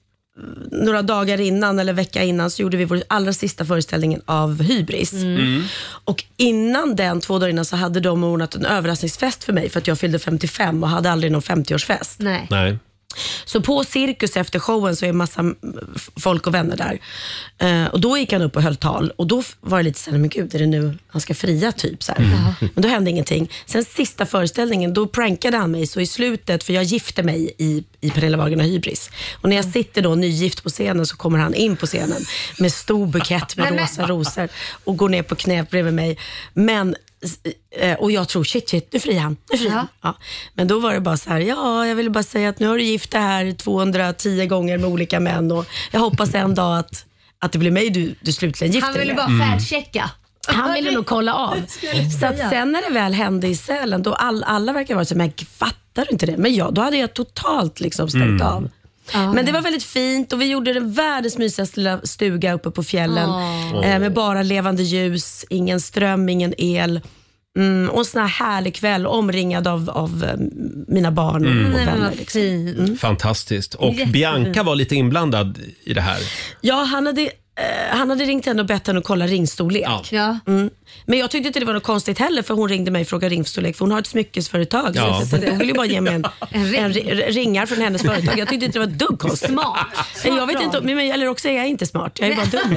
S13: några dagar innan eller vecka innan, så gjorde vi vår allra sista föreställningen av Hybris.
S1: Mm.
S2: Mm.
S13: Och innan den, två dagar innan, så hade de ordnat en överraskningsfest för mig för att jag fyllde 55 och hade aldrig någon 50-årsfest.
S2: Nej.
S1: Nej.
S13: Så på Cirkus efter showen så är massa mm, f- folk och vänner där. Eh, och Då gick han upp och höll tal och då f- var det lite såhär, men gud är det nu han ska fria typ? Så här.
S2: Mm.
S13: Men då hände ingenting. Sen sista föreställningen, då prankade han mig så i slutet, för jag gifte mig i, i Pernilla Wahlgren och Hybris. Och när jag sitter då nygift på scenen så kommer han in på scenen med stor bukett med
S2: Nej,
S13: rosa
S2: men-
S13: rosor och går ner på knä bredvid mig. Men eh, och jag tror shit, shit, nu friar han. Nu friar han. Ja. Men då var det bara så här, ja, jag ville bara säga att nu har du gift det här 210 gånger med olika män och jag hoppas en dag att, att det blir mig du, du slutligen gifter
S2: Han ville
S13: dig
S2: bara
S13: med.
S1: Mm.
S2: färdchecka.
S13: Han ville nog kolla av. Så att sen när det väl hände i Sälen, då all, alla verkar vara så här, men fattar du inte det? Men jag, då hade jag totalt liksom stängt
S10: Mm.
S13: av. Men det var väldigt fint och vi gjorde den världens mysigaste lilla stuga uppe på fjällen
S10: Åh.
S13: eh, med bara levande ljus, ingen ström, ingen el. Mm, och en sån här härlig kväll omringad av, av eh, mina barn och,
S1: Mm.
S13: och
S1: Nej, men
S13: vänner.
S1: vad
S13: Liksom.
S1: Fantastiskt. Och
S13: Jättefint.
S1: Bianca var lite inblandad i det här.
S13: Ja, han hade, eh, han hade ringt henne och bett henne att kolla ringstorlek. Mm. Men jag tyckte inte det var något konstigt heller för hon ringde mig och frågade ringstorlek för hon har ett smyckesföretag.
S10: Ja.
S13: Så jag tänkte, hon vill ju bara ge mig en,
S10: En
S13: en,
S10: ring.
S13: ri- ringar från hennes företag. Jag tyckte inte det var ett dugg konstigt.
S10: Smart.
S13: Men jag
S10: Smart
S13: vet inte, om- men, eller också är jag inte smart. Jag är bara dum.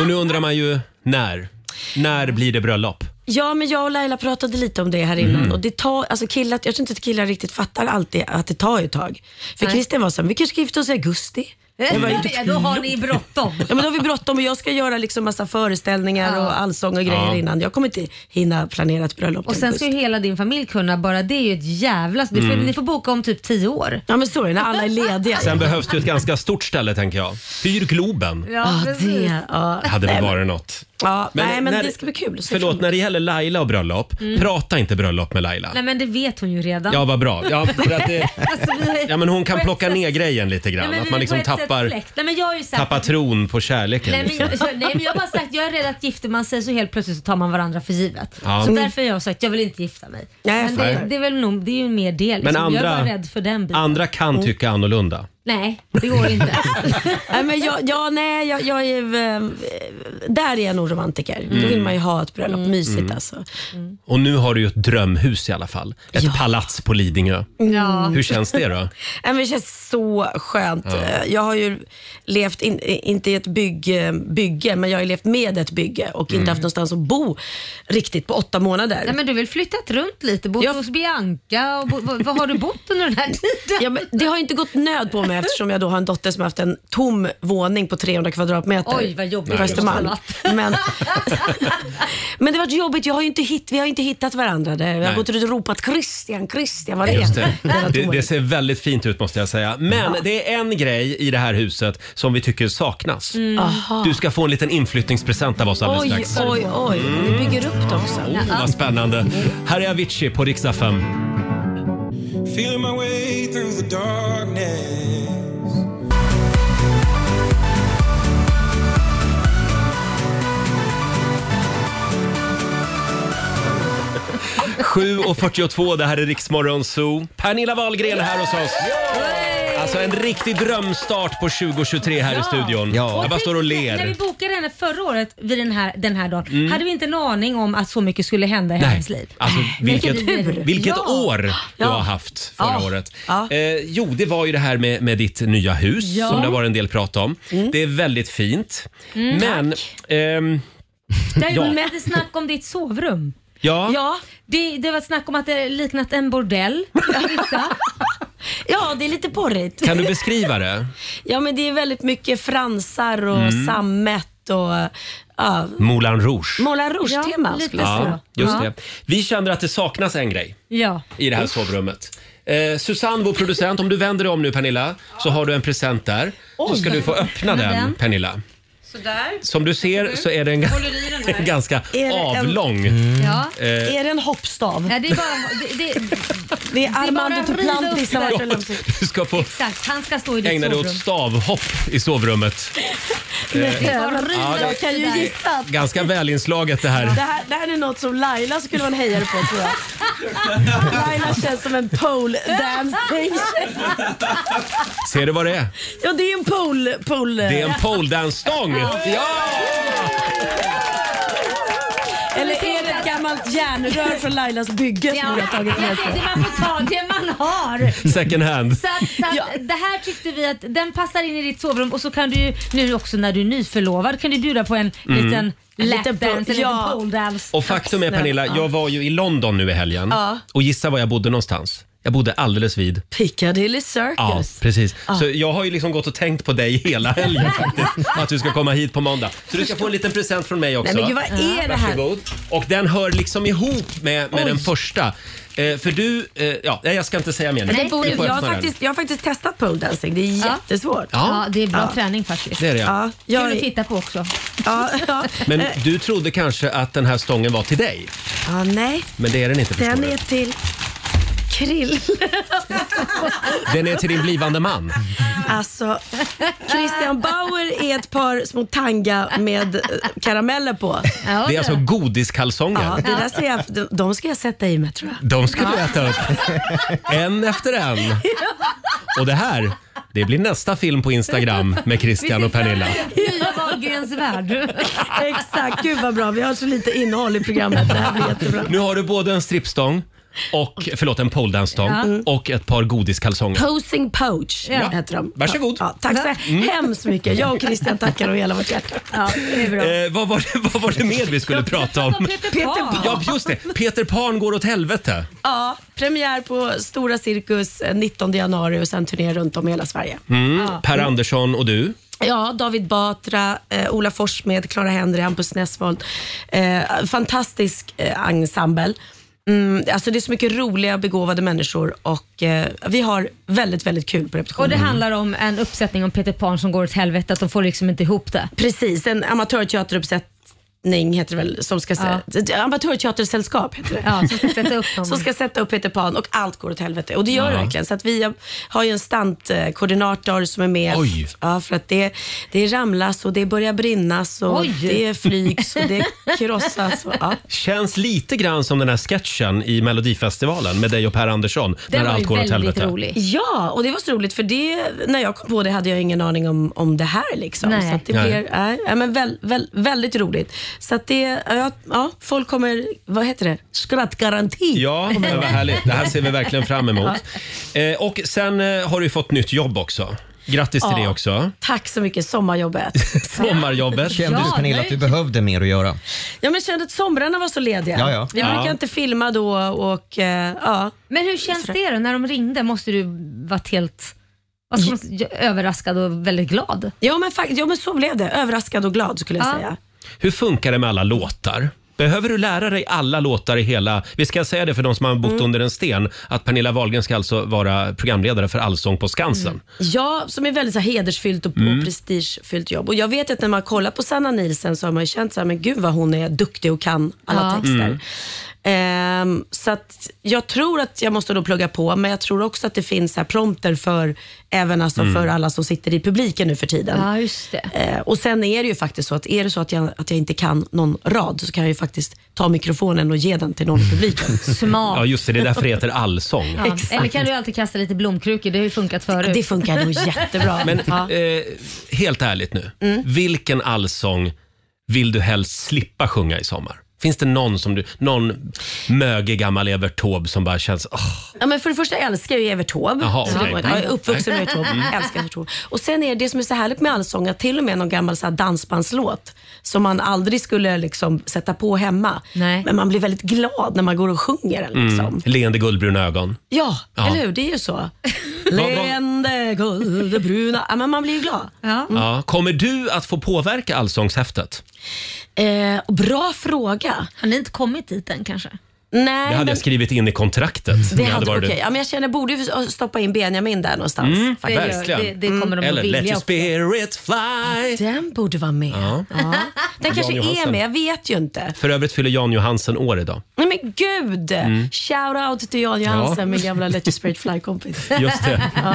S1: Och nu undrar man ju när. När blir det bröllop?
S13: Ja, men jag och Laila pratade lite om det här innan.
S1: Mm.
S13: Och det tar, alltså killar, jag tror inte att killar riktigt fattar alltid att det tar ju ett tag. För
S2: Nej. Eh,
S13: Christian var så här, vi kanske ska gifta oss i augusti. Jag bara, "Inte
S2: Ja, då har ni bråttom.
S13: Ja, men då har vi bråttom och jag ska göra liksom massa föreställningar och allsång och grejer
S2: Ja.
S13: innan. Jag kommer inte hinna planera ett bröllop
S2: Och
S13: till
S2: sen
S13: augusti.
S2: ska ju hela din familj kunna, bara det är ju ett jävla... Ni får,
S1: Mm.
S2: ni får boka om typ tio år.
S13: Ja men så är det, när alla är lediga.
S1: Sen behövs det ju ett ganska stort ställe tänker jag. Hyr Globen.
S13: Ja,
S2: precis.
S13: Ah, det, ja.
S1: Hade
S13: nej,
S1: väl
S13: men-
S1: varit något.
S13: Ja,
S1: Men
S13: nej, men
S1: när-
S13: det ska bli kul. Så
S1: Förlåt, när det gäller Laila och bröllop.
S2: Mm.
S1: Prata inte bröllop med Laila.
S2: Nej men det vet hon ju redan.
S1: Ja, vad bra. Ja, för att det,
S2: Alltså, vi-
S1: ja, men hon kan
S2: på ett
S1: plocka
S2: sätt-
S1: ner grejen lite
S2: Nej,
S1: grann.
S2: men
S1: Att
S2: vi
S1: man
S2: är
S1: liksom
S2: på ett sätt
S1: tappar,
S2: släkt. Nej, men jag har ju sagt
S1: tappar tron på kärleken.
S2: Nej men,
S1: liksom.
S2: så, nej men jag har bara sagt, jag är rädd att gifter man sig så helt plötsligt så tar man varandra för givet.
S1: Ja.
S2: Så
S1: Mm.
S2: därför har jag sagt, jag vill inte gifta mig.
S13: Nej,
S2: men
S1: jag
S2: det,
S1: fattar.
S2: det är väl nog, det är ju mer det liksom.
S1: Men
S2: Jag är
S1: andra-
S2: bara rädd för den biten.
S1: Andra kan
S2: Mm.
S1: tycka annorlunda.
S2: Nej, det går inte.
S13: nej, men jag, jag, nej, jag, jag är, eh, där är jag nog romantiker. Då vill man ju ha ett bröllop, mysigt
S1: Mm.
S13: alltså.
S1: Och nu har du ju ett drömhus i alla fall. Ett palats på Lidingö.
S13: Ja.
S1: Hur känns det då?
S13: Nej, men det känns så skönt.
S1: Ja.
S13: Eh, Jag har ju levt, in, inte i ett bygge, bygge, men jag har ju levt med ett bygge och
S2: Mm.
S13: inte haft någonstans att bo riktigt på åtta månader.
S2: Nej men du har väl flyttat runt lite, bott hos Bianca och bo, vad, vad har du bott under den här tiden?
S13: Ja, men det har ju inte gått nöd på mig eftersom jag då har en dotter som har haft en tom våning på 300 kvadratmeter.
S2: Oj, vad jobbigt.
S13: På
S2: Nej,
S13: Östermalm.
S2: just
S13: Men, men det var jobbigt. Jag har ju inte hitt, vi har ju inte hittat varandra. Där. Jag
S1: Nej.
S13: har gått runt och ropat Christian, Christian, var är
S1: Just det.
S13: han?" Hela
S1: Det,
S13: tomma
S1: det ser väldigt fint ut måste jag säga. Men
S13: Ja.
S1: det är en grej i det här huset som vi tycker saknas.
S13: Mm. Aha.
S1: Du ska få en liten inflyttningspresent av oss alldeles
S13: Oj,
S1: strax.
S13: oj, oj. Vi bygger upp det också.
S1: Mm. Oh, vad spännande. Här är Avicii på riksdag 5.
S10: Feeling my way through the darkness.
S1: och 42, det här är Riksmorgon Zoo. Pernilla Wahlgren är här hos oss. Alltså en riktig drömstart på 2023 här i studion. Jag bara står och
S2: När vi
S1: ler.
S2: bokade henne förra året vid den här, den här dagen
S1: Mm.
S2: hade vi inte en aning om att så mycket skulle hända i hennes liv.
S1: Alltså, vilket
S2: Vilken tur.
S1: vilket
S2: Ja.
S1: år du
S2: Ja.
S1: har haft förra
S2: Ja.
S1: året.
S2: Ja.
S1: Eh, jo, det var ju det här med, med ditt nya hus
S10: Ja.
S1: som det var en del prat om. Det är väldigt fint.
S2: Mm,
S1: Men... ehm,
S2: Det har ju
S1: Ja.
S2: varit lite snack om ditt sovrum.
S1: ja.
S2: Det, det var snack om att det liknat en bordell.
S13: ja, det är lite porrigt.
S1: Kan du beskriva det?
S13: Ja, men det är väldigt mycket fransar och
S1: Mm.
S13: sammet och ja,
S1: Moulin Rouge.
S13: Moulin Rouge-tema.
S2: Ja, lite
S13: skulle jag säga.
S1: Ja, just
S2: Ja.
S1: det. Vi känner att det saknas en grej.
S2: Ja.
S1: i det här sovrummet. Eh, Susanne, vår producent, om du vänder dig om nu Pernilla, så har du en present där. Så
S4: Oj.
S1: ska du få öppna
S4: Öppna den.
S1: den, Pernilla.
S4: Sådär.
S1: Som du ser så är den,
S4: Håller i den här.
S1: ganska
S4: Är det en-
S1: avlång.
S2: Ja.
S1: Eh,
S13: Är det en hoppstav?
S2: Ja, det är bara... Det, det,
S13: det
S2: är bara att
S13: Armando
S2: riva upp
S13: Duplantis har
S2: det.
S13: varit och lämnat
S1: Du ska få
S2: Exakt, han ska stå i ditt
S1: ägna dig
S2: sovrum.
S1: åt stavhopp i sovrummet. Eh, ja, det-
S13: Jag kan ju gissa.
S1: ganska välinslaget det här.
S13: Det här, det här är något som Laila skulle vara en hejare på tror jag. Laila känns som en pole dancing
S1: Ser du vad det är?
S13: Ja, det är en pole... pole
S1: Det är en poledance-stång! Ja!
S13: Eller är det ett gammalt järnrör från Lailas bygge som vi har tagit med
S2: Ja, det
S13: sig?
S2: man får ta det man har.
S1: Second hand.
S2: Så, att, så att, Det här tyckte vi att den passar in i ditt sovrum och så kan du ju nu också när du är nyförlovad kan du bjuda på en
S1: Mm.
S2: liten
S13: En
S2: lapdance,
S13: liten
S2: en
S13: pole-
S2: liten
S13: ja.
S2: pole dance.
S1: Och faktum är Pernilla, jag var ju i London nu i helgen
S13: Ja.
S1: och gissa var jag bodde någonstans. Jag bodde alldeles vid
S13: Piccadilly
S1: Ja,
S13: Circus.
S1: precis.
S13: Ja.
S1: Så jag har ju liksom gått och tänkt på dig hela helgen faktiskt. Att du ska komma hit på måndag. Så du ska få en liten present från mig också.
S13: Nej, men gud, vad är det här?
S1: Varsågod. Och den hör liksom ihop med, med
S13: Oj.
S1: den första. Eh, för du, eh, ja, nej, jag ska inte säga mer nu.
S13: Men det
S1: Du
S13: borde,
S1: får
S13: jag, har
S1: öppna den.
S13: faktiskt, jag har faktiskt testat pole dancing. Det är
S2: Ja.
S13: jättesvårt.
S1: Ja. Ja, det är bra
S2: träning faktiskt.
S1: Det är det,
S13: ja.
S1: ja.
S2: Kul att titta på också.
S13: Ja, ja. Eh,
S1: Men du trodde kanske att den här stången var till dig.
S13: ja, nej.
S1: Men det är den inte förstår
S13: Den
S1: du.
S13: är till Krill.
S1: Den är till din blivande man.
S13: Alltså, Christian Bauer är ett par små tanga med eh, karameller på.
S1: Det är alltså godiskalsonger.
S13: Ja, det där ser jag, de- de ska jag sätta i mig tror jag.
S1: De ska du äta upp. En efter en. Och det här, det blir nästa film på Instagram med Christian och Pernilla.
S2: Nya Wahlgrens värld.
S13: Exakt, gud vad bra. Vi har så lite innehåll i programmet. Det här blir jättebra.
S1: Nu har du både en strippstång och, förlåt, en poledance-stång
S13: Ja. Mm.
S1: och ett par godiskalsonger.
S13: Posing Poach
S1: Ja.
S13: heter de.
S1: Varsågod. Mm.
S13: Ja, tack så hemskt mycket. Jag och Christian tackar av hela vårt hjärta.
S2: Ja, det är bra.
S1: Eh, vad, var det, vad var det mer vi skulle prata om?
S13: Peter Pan.
S1: Ja, just det. Peter Pan går åt helvete.
S13: Ja, premiär på Stora Cirkus eh, 19 januari och sen turné runt om i hela Sverige.
S1: Mm,
S13: Ja.
S1: per Andersson och du.
S13: Ja, David Batra, eh, Ola Forssmed, Clara Henry, Hampus Nessvold. Eh, fantastisk eh, ensemble. Mm, alltså det är så mycket roliga, begåvade människor och eh, vi har väldigt, väldigt kul på repetitionen.
S2: Och det handlar om en uppsättning om Peter Pan som går åt helvete, att de får liksom inte ihop det.
S13: Precis, en amatörteateruppsättning heter det väl som ska
S2: Ja.
S13: se, amatörteatersällskap heter det.
S2: Ja, som ska sätta upp dem.
S13: som ska sätta upp Peter Pan och allt går åt helvete. Och det gör
S2: Ja.
S13: det verkligen. Så att vi har ju en stantkoordinator som är med.
S10: Oj.
S13: Ja, för att det, det ramlas och det börjar brinnas och
S10: Oj.
S13: det flygs och det krossas. Och, ja.
S1: Känns lite grann som den här sketchen i Melodifestivalen med dig och Per Andersson.
S13: Den
S1: när
S13: var
S1: allt
S13: ju
S1: går åt helvete.
S13: Ja, och det var så roligt för det, när jag kom på det hade jag ingen aning om, om det här. Liksom.
S2: Nej.
S13: Så att det
S1: Nej.
S13: blir äh, ja, men väl, väl, väldigt roligt. Så att det, ja, ja, folk kommer, vad heter det, skrattgaranti.
S1: Ja, men vad härligt. Det här ser vi verkligen fram emot. Eh, och sen eh, har du ju fått nytt jobb också. Grattis till
S13: Ja.
S1: det också.
S13: Tack så mycket, sommarjobbet.
S1: Sommarjobbet.
S13: Kände du, Ja, Pernilla, att du nöjd.
S1: behövde mer att göra?
S13: Ja, men kände att somrarna var så lediga.
S1: Ja, ja.
S13: Vi
S1: Ja.
S13: brukar inte filma då och eh, ja.
S2: Men hur känns det då? När de ringde måste du varit helt Vad ska man säga? Överraskad och väldigt glad.
S13: Ja men, fakt- ja, men så blev det. Överraskad och glad skulle jag
S2: Ja.
S13: säga.
S1: Hur funkar det med alla låtar? Behöver du lära dig alla låtar i hela... Vi ska säga det för de som har bott
S13: Mm.
S1: under en sten, att Pernilla Wahlgren ska alltså vara programledare för Allsång på Skansen.
S13: Mm. Ja, som är väldigt så här, hedersfyllt och,
S1: Mm.
S13: och prestigefyllt jobb. Och jag vet att när man kollar på Sanna Nielsen så har man ju känt så här, men gud vad hon är duktig och kan alla
S10: Ja.
S13: texter.
S10: Mm.
S13: Ehm, så att jag tror att jag måste då plugga på, men jag tror också att det finns så här prompter för även alltså
S10: Mm.
S13: för alla som sitter i publiken nu för tiden.
S2: Ja, just det.
S13: Eh, och sen är det ju faktiskt så att är det så att jag, att jag inte kan någon rad så kan jag ju faktiskt ta mikrofonen och ge den till någon i publiken.
S2: Smart.
S1: Ja, just det. Det är därför det heter Allsång.
S2: Ja. Eller kan du alltid kasta lite blomkrukor? Det har ju funkat förut.
S13: Det funkar nog jättebra.
S1: Men eh, helt ärligt nu,
S13: Mm.
S1: vilken allsång vill du helst slippa sjunga i sommar? Finns det någon som du, någon mögig gammal Evert Taube som bara känns, åh,
S13: Ja, men för det första älskar jag ju Evert Taube.
S1: Jaha,
S13: Så
S1: okej.
S13: jag är uppvuxen med Evert Taube.
S1: Mm.
S13: Älskar Evert Taube. Och sen är det, det som är så härligt med allsång att till och med någon gammal så här dansbandslåt som man aldrig skulle liksom sätta på hemma. Men man blir väldigt glad när man går och sjunger den. Liksom.
S1: mm, leende guldbruna ögon.
S13: Ja,
S1: Ja.
S13: eller hur? Det är ju så. Leende guldbruna. Ja, men man blir ju glad. Mm.
S1: Ja. Kommer du att få påverka allsångshäftet?
S13: Eh, och bra fråga.
S2: Har ni inte kommit dit än kanske?
S1: Det
S13: Nej,
S1: hade
S13: men,
S1: jag skrivit in i kontraktet. om
S13: det
S1: jag
S13: hade,
S1: varit
S13: okay.
S1: du.
S13: ja, men jag känner, jag borde ju stoppa in Benjamin där någonstans.
S1: Mm,
S13: faktiskt.
S1: verkligen. Mm. Eller Let your spirit fly.
S13: Den borde vara med.
S1: Ja.
S13: Ja. Den
S1: Jan
S13: kanske är
S1: Johansen.
S13: med, jag vet ju inte.
S1: För övrigt fyller Jan Johansen år idag.
S13: Nej men gud!
S1: Mm.
S13: Shout out till Jan Johansen,
S1: Ja.
S13: min gamla Let Your Spirit Fly-kompis.
S1: Just det.
S13: Ja.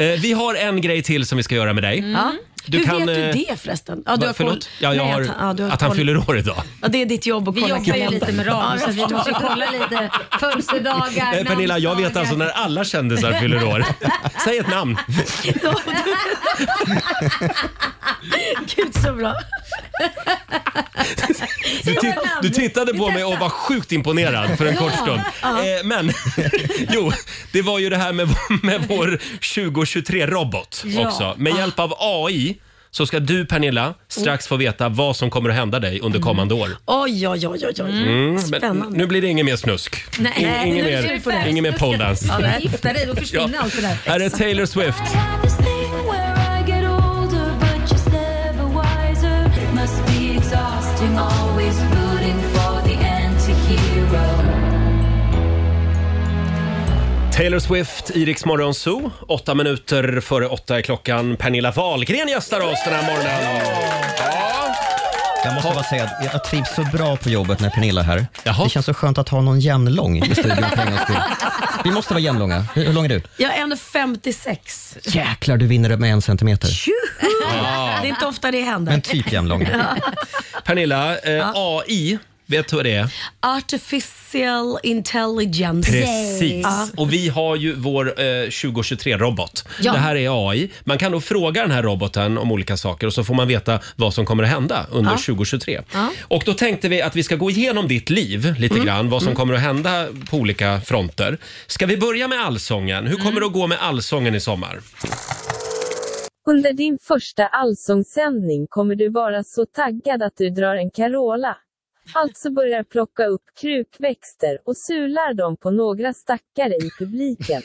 S1: Eh, vi har en grej till som vi ska göra med dig.
S13: Mm. Ja.
S1: Mm. Du
S13: Hur
S1: kan,
S13: vet du
S1: eh,
S13: det förresten? Ja,
S1: Va-
S13: du har koll.
S1: förlåt? Ja, jag
S13: Nej,
S1: har,
S13: att, han- ja, du har
S1: att han
S13: koll.
S1: fyller år idag.
S13: Ja, det är ditt jobb att
S2: Vi
S13: kolla
S2: jobbar ju
S13: kalendern.
S2: lite med radio
S13: Ja,
S2: så
S13: jag
S2: vi måste ju
S13: förstår.
S2: kolla lite födelsedagar,
S1: Nej, Pernilla, jag vet alltså när alla kändisar fyller år. Säg ett namn.
S13: Gud så bra.
S1: Du,
S10: Säg
S1: ti-
S10: ett namn.
S1: du tittade på mig och var sjukt imponerad för en
S10: Ja.
S1: kort stund.
S10: Ja.
S1: Eh, men, jo, det var ju det här med, med vår 2023-robot
S10: Ja.
S1: också. Med hjälp av AI så ska du, Pernilla, strax få veta vad som kommer att hända dig under kommande år.
S13: Oj, oj, oj, oj. oj.
S1: Mm, men
S13: Mm. Spännande.
S1: nu blir det ingen mer snusk.
S13: Nej,
S1: In, ingen
S13: nu
S1: mer,
S13: kör vi på det.
S1: ingen mer poledance.
S2: Ja, nej. Gifta dig, då försvinner allt det där.
S1: Här är Taylor Swift. Taylor Swift, Iriks morgonzoo. Åtta minuter före åtta är klockan. Pernilla Wahlgren gästar oss den här morgonen.
S3: Jag måste bara säga att jag trivs så bra på jobbet när Pernilla är här. Det känns så skönt att ha någon jämnlång i studion för en gångs skull. Vi måste vara jämnlånga. Hur, hur lång är du?
S13: Jag är 1,56.
S3: Jäklar, du vinner med en centimeter.
S1: Ja.
S13: Det är inte ofta det händer.
S3: Men typ jämnlång.
S13: Ja.
S1: Pernilla, eh, AI, vet du vad det är?
S13: Artificial intelligence.
S1: Precis.
S13: Ja.
S1: Och vi har ju vår eh, 2023-robot.
S13: Ja.
S1: Det här är AI. Man kan då fråga den här roboten om olika saker och så får man veta vad som kommer att hända under
S10: Ja.
S1: 2023. Och då tänkte vi att vi ska gå igenom ditt liv lite
S10: Mm.
S1: grann, vad som
S10: Mm.
S1: kommer att hända på olika fronter. Ska vi börja med allsången? Hur kommer
S13: Mm.
S1: det att gå med allsången i sommar?
S12: Under din första allsångssändning kommer du vara så taggad att du drar en Carola. Alltså börjar plocka upp krukväxter och sular dem på några stackare i publiken.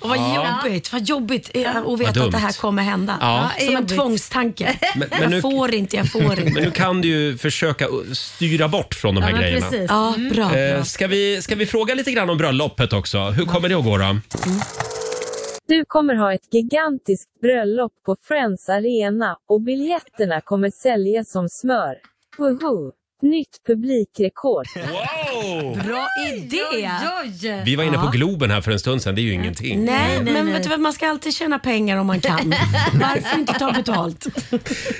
S13: Och vad
S1: Ja.
S13: jobbigt, vad jobbigt eh, att
S1: Vad
S13: veta
S1: dumt.
S13: att det här kommer hända.
S1: Ja.
S13: Som en tvångstanke.
S1: Men- men nu-
S13: jag får inte, jag får inte.
S1: Men nu kan du ju försöka styra bort från de här
S13: Ja, men
S1: grejerna.
S13: precis. Ja,
S2: Mm.
S13: bra, bra.
S1: Eh, Ska, vi, ska vi fråga lite grann om bröllopet också? Hur kommer det att gå då?
S12: Du kommer ha ett gigantiskt bröllop på Friends Arena och biljetterna kommer säljas som smör. Woho! Nytt publikrekord.
S1: Wow!
S13: Bra idé!
S1: Vi var inne
S13: Ja.
S1: på Globen här för en stund sedan, det är ju ingenting.
S13: Nej, men vet du vad, man ska alltid tjäna pengar om man kan. Varför inte ta betalt?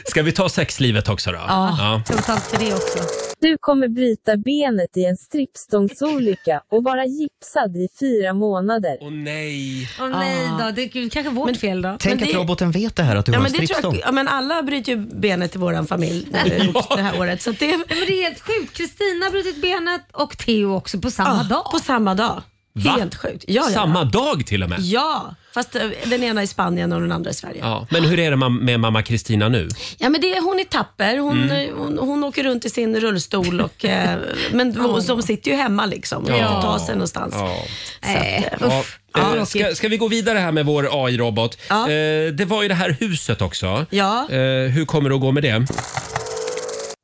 S1: Ska vi ta sexlivet också då?
S12: Ja.
S2: Totalt för det också.
S12: Du kommer bryta benet i en strippstångsolycka och vara gipsad i fyra månader.
S1: Åh nej!
S2: Åh nej
S13: Ah.
S2: då, det är kanske vårt fel då.
S3: Tänk att roboten vet det här, att du
S13: Ja,
S3: har
S13: men,
S3: en
S13: det tror
S3: strippstång.
S13: jag, ja, men alla bryter ju benet i vår familj eh, det här året. Så att det,
S2: Nej, men det är helt sjukt. Kristina har brutit benet och Theo också på samma dag.
S13: På samma dag.
S1: Va?
S13: Helt sjukt. Ja, ja.
S1: Samma dag till och med?
S13: Ja, Fast eh, den ena i Spanien och den andra i Sverige.
S1: Ja. Men hur är det mam- med mamma Kristina nu?
S13: Ja, men det, hon är tapper. Hon,
S1: Mm.
S13: eh, hon, hon åker runt i sin rullstol. Och, eh, men de sitter ju hemma liksom. och
S1: Ja.
S13: kan ta sig någonstans.
S1: Ja.
S13: Så att, eh,
S1: Ja.
S13: uff.
S1: eh,
S13: Ja.
S1: Ska, ska vi gå vidare här med vår AI-robot? Eh, det var ju det här huset också.
S13: Ja.
S1: Eh, hur kommer det att gå med det?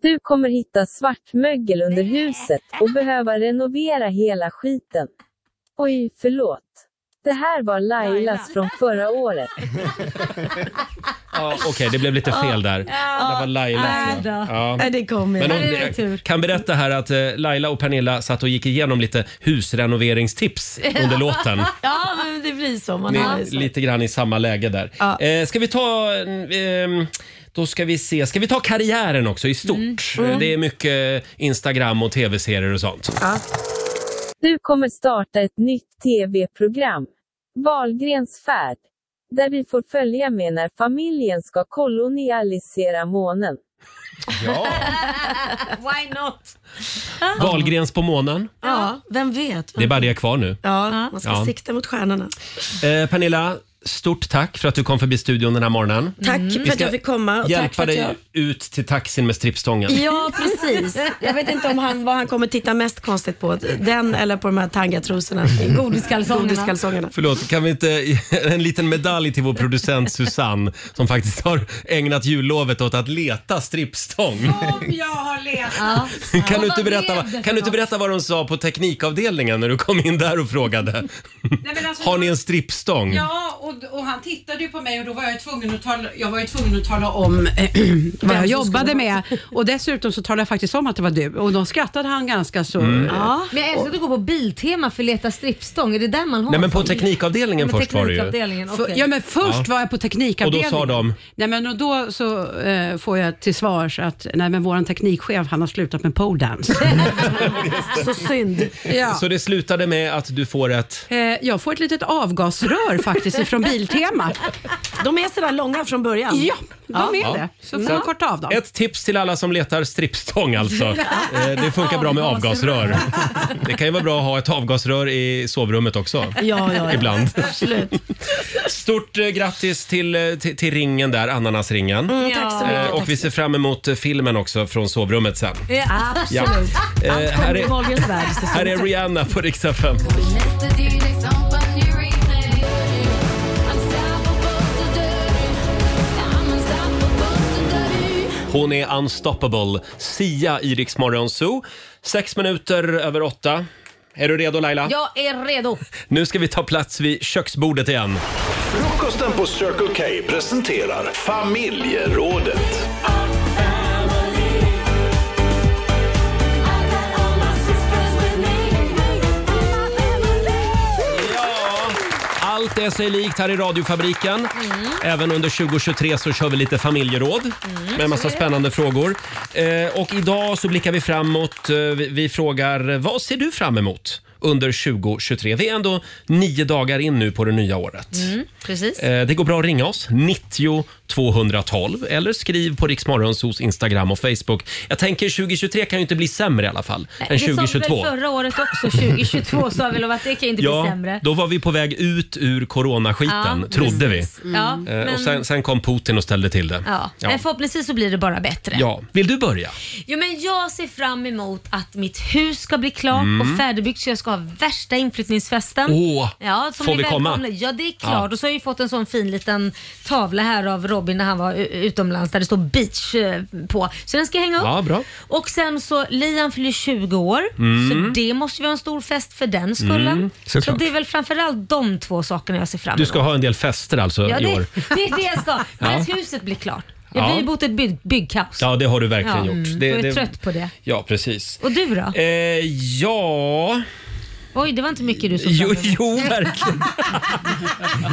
S12: Du kommer hitta svartmögel under huset och behöva renovera hela skiten. Oj, förlåt. Det här var Lailas från förra året.
S1: Ja, Okej, det blev lite fel där. Det var Laila.
S13: Nej.
S1: Ja.
S13: Nej, det kom ju.
S1: Men
S13: Nej,
S1: hon,
S13: det var tur.
S1: jag kan berätta här att eh, Laila och Pernilla satt och gick igenom lite husrenoveringstips under låten.
S13: ja, men det blir så. Man
S1: Ni,
S13: har- alltså-
S1: lite grann i samma läge där.
S13: Ja.
S1: Eh, ska vi ta... ehm, då ska vi se. Ska vi ta karriären också i stort?
S12: Mm.
S1: Eh, Det är mycket Instagram och tv-serier och sånt.
S12: Du kommer starta ett nytt tv-program, Wahlgrens färd, där vi får följa med när familjen ska kolonialisera månen.
S13: Why not?
S1: Wahlgrens på månen.
S13: Ja, vem vet?
S1: Det är bara det kvar nu.
S13: Ja, man ska
S1: Ja.
S13: sikta mot stjärnorna.
S1: Eh, Pernilla, stort tack för att du kom förbi studion den här morgonen.
S13: Mm. Tack
S1: Vi
S13: för att
S1: ska
S13: jag fick komma. Och tack för
S1: Hjälpa
S13: att
S1: dig
S13: jag...
S1: ut till taxin med strippstången.
S13: Ja, precis. Jag vet inte om han, vad han kommer titta mest konstigt på. Den eller på de här tangatrosorna. Godiskalsongerna. Godiskalsongerna.
S1: Förlåt, kan vi inte ge en liten medalj till vår producent Susanne som faktiskt har ägnat jullovet åt att leta strippstång?
S4: Jag har levt.
S1: Kan du, inte berätta, vad- kan du inte berätta vad de sa på teknikavdelningen när du kom in där och frågade?
S4: Nej, men alltså,
S1: Har ni en strippstång?
S4: Ja, och, och han tittade ju på mig och då var jag ju tvungen att tala, jag var ju tvungen att tala om eh, vad jag jobbade med. Och dessutom så talade jag faktiskt om att det var du och då skrattade han ganska så. eh,
S1: Mm.
S4: Ja.
S2: Men jag älskar att gå på Biltema för att leta strippstång. Är det där man har
S1: Nej, men på
S2: sån?
S1: teknikavdelningen
S2: Ja, men
S1: först var det ju.
S2: teknikavdelningen,
S4: För-
S2: okej.
S4: Ja men först
S1: Ja.
S4: var jag på
S1: Och
S4: teknikavdelningen.
S1: då sa de?
S4: Nej men och då så eh, får jag till svars att nej men våran teknikchef han har slutat med pole dance.
S13: Alltså, så synd.
S4: Ja.
S1: Så det slutade med att du får ett...
S4: Eh, jag får ett litet avgasrör faktiskt ifrån Biltema.
S13: De är sådär långa från början.
S4: Ja, de är
S1: Ja.
S4: det. Mm. Så får jag korta av dem.
S1: Ett tips till alla som letar strippstång alltså. Eh, Det funkar bra med avgasrör. Det kan ju vara bra att ha ett avgasrör i sovrummet också.
S13: Ja, ja, ja.
S1: Ibland.
S13: Absolut.
S1: Stort eh, grattis till, eh, till, till ringen där, ananasringen.
S13: Mm, tack så mycket,
S1: Eh,
S13: tack
S1: Och vi ser fram emot eh, filmen också från sovrummet sen.
S13: Ja,
S1: Ja.
S13: absolut.
S1: Eh,
S13: Allt
S1: här
S13: kommer
S1: är-
S13: till Wahlgrens värld. så
S1: Här är
S13: synd.
S1: Rihanna på riksdag 5. Hon är unstoppable. Sia i Rix Morgon Zoo. Sex minuter över åtta. Är du redo Laila?
S2: Jag är redo.
S1: Nu ska vi ta plats vid köksbordet igen.
S15: Frukosten på Circle K presenterar familjerådet.
S1: Allt är sig likt här i radiofabriken. Även under 2023 så kör vi lite familjeråd med en massa spännande frågor. Eh, och idag så blickar vi framåt. Eh, vi, vi frågar vad ser du fram emot under 2023? Vi är ändå nio dagar in nu på det nya året.
S2: Mm, precis.
S1: Eh, Det går bra att ringa oss, 90 212 eller skriv på Riksmorgonsos Instagram och Facebook. Jag tänker 2023 kan ju inte bli sämre i alla fall än
S2: Det sa vi
S1: 2022.
S2: väl förra året också, 2022 sa vi väl att det kan inte bli sämre.
S1: då var vi på väg ut ur coronaskiten,
S2: Ja,
S1: trodde
S2: precis.
S1: vi.
S2: Ja,
S1: Eh,
S2: men-
S1: Och sen, sen kom Putin och ställde till det.
S2: Ja.
S1: Ja.
S2: Men förhoppningsvis så blir det bara bättre.
S1: Ja. Vill du börja?
S2: Jo, men jag ser fram emot att mitt hus ska bli klart
S1: Mm.
S2: och färdigbyggt så jag ska ha värsta inflyttningsfesten.
S1: Åh,
S2: ja, som
S1: får
S2: ni
S1: vi komma?
S2: välkomnar. Ja, det är klart.
S1: Ja.
S2: Och så har jag ju fått en sån fin liten tavla här av Robin när han var u- utomlands där det står beach eh, på. Så den ska jag hänga upp.
S1: Ja, bra.
S2: Och sen så, Liam fyller 20 år,
S1: Mm.
S2: så det måste vi ha en stor fest för den skullen.
S1: Mm,
S2: Så
S1: såklart.
S2: det är väl framförallt de två sakerna jag ser fram emot.
S1: Du ska ha en del fester alltså
S2: ja,
S1: i
S2: det,
S1: år.
S2: det är det jag ska. Men
S1: Ja.
S2: att huset blir klart. Jag
S1: Ja.
S2: blir ju bott ett bygg, byggkaos.
S1: Ja, det har du verkligen
S2: Ja,
S1: gjort.
S2: mm.
S1: Det-
S2: jag är
S1: det-
S2: trött på det.
S1: Ja, precis.
S2: Och du då?
S1: Eh, ja...
S2: Oj, det var inte mycket du såg
S1: Jo,
S2: fram emot.
S1: jo, verkligen.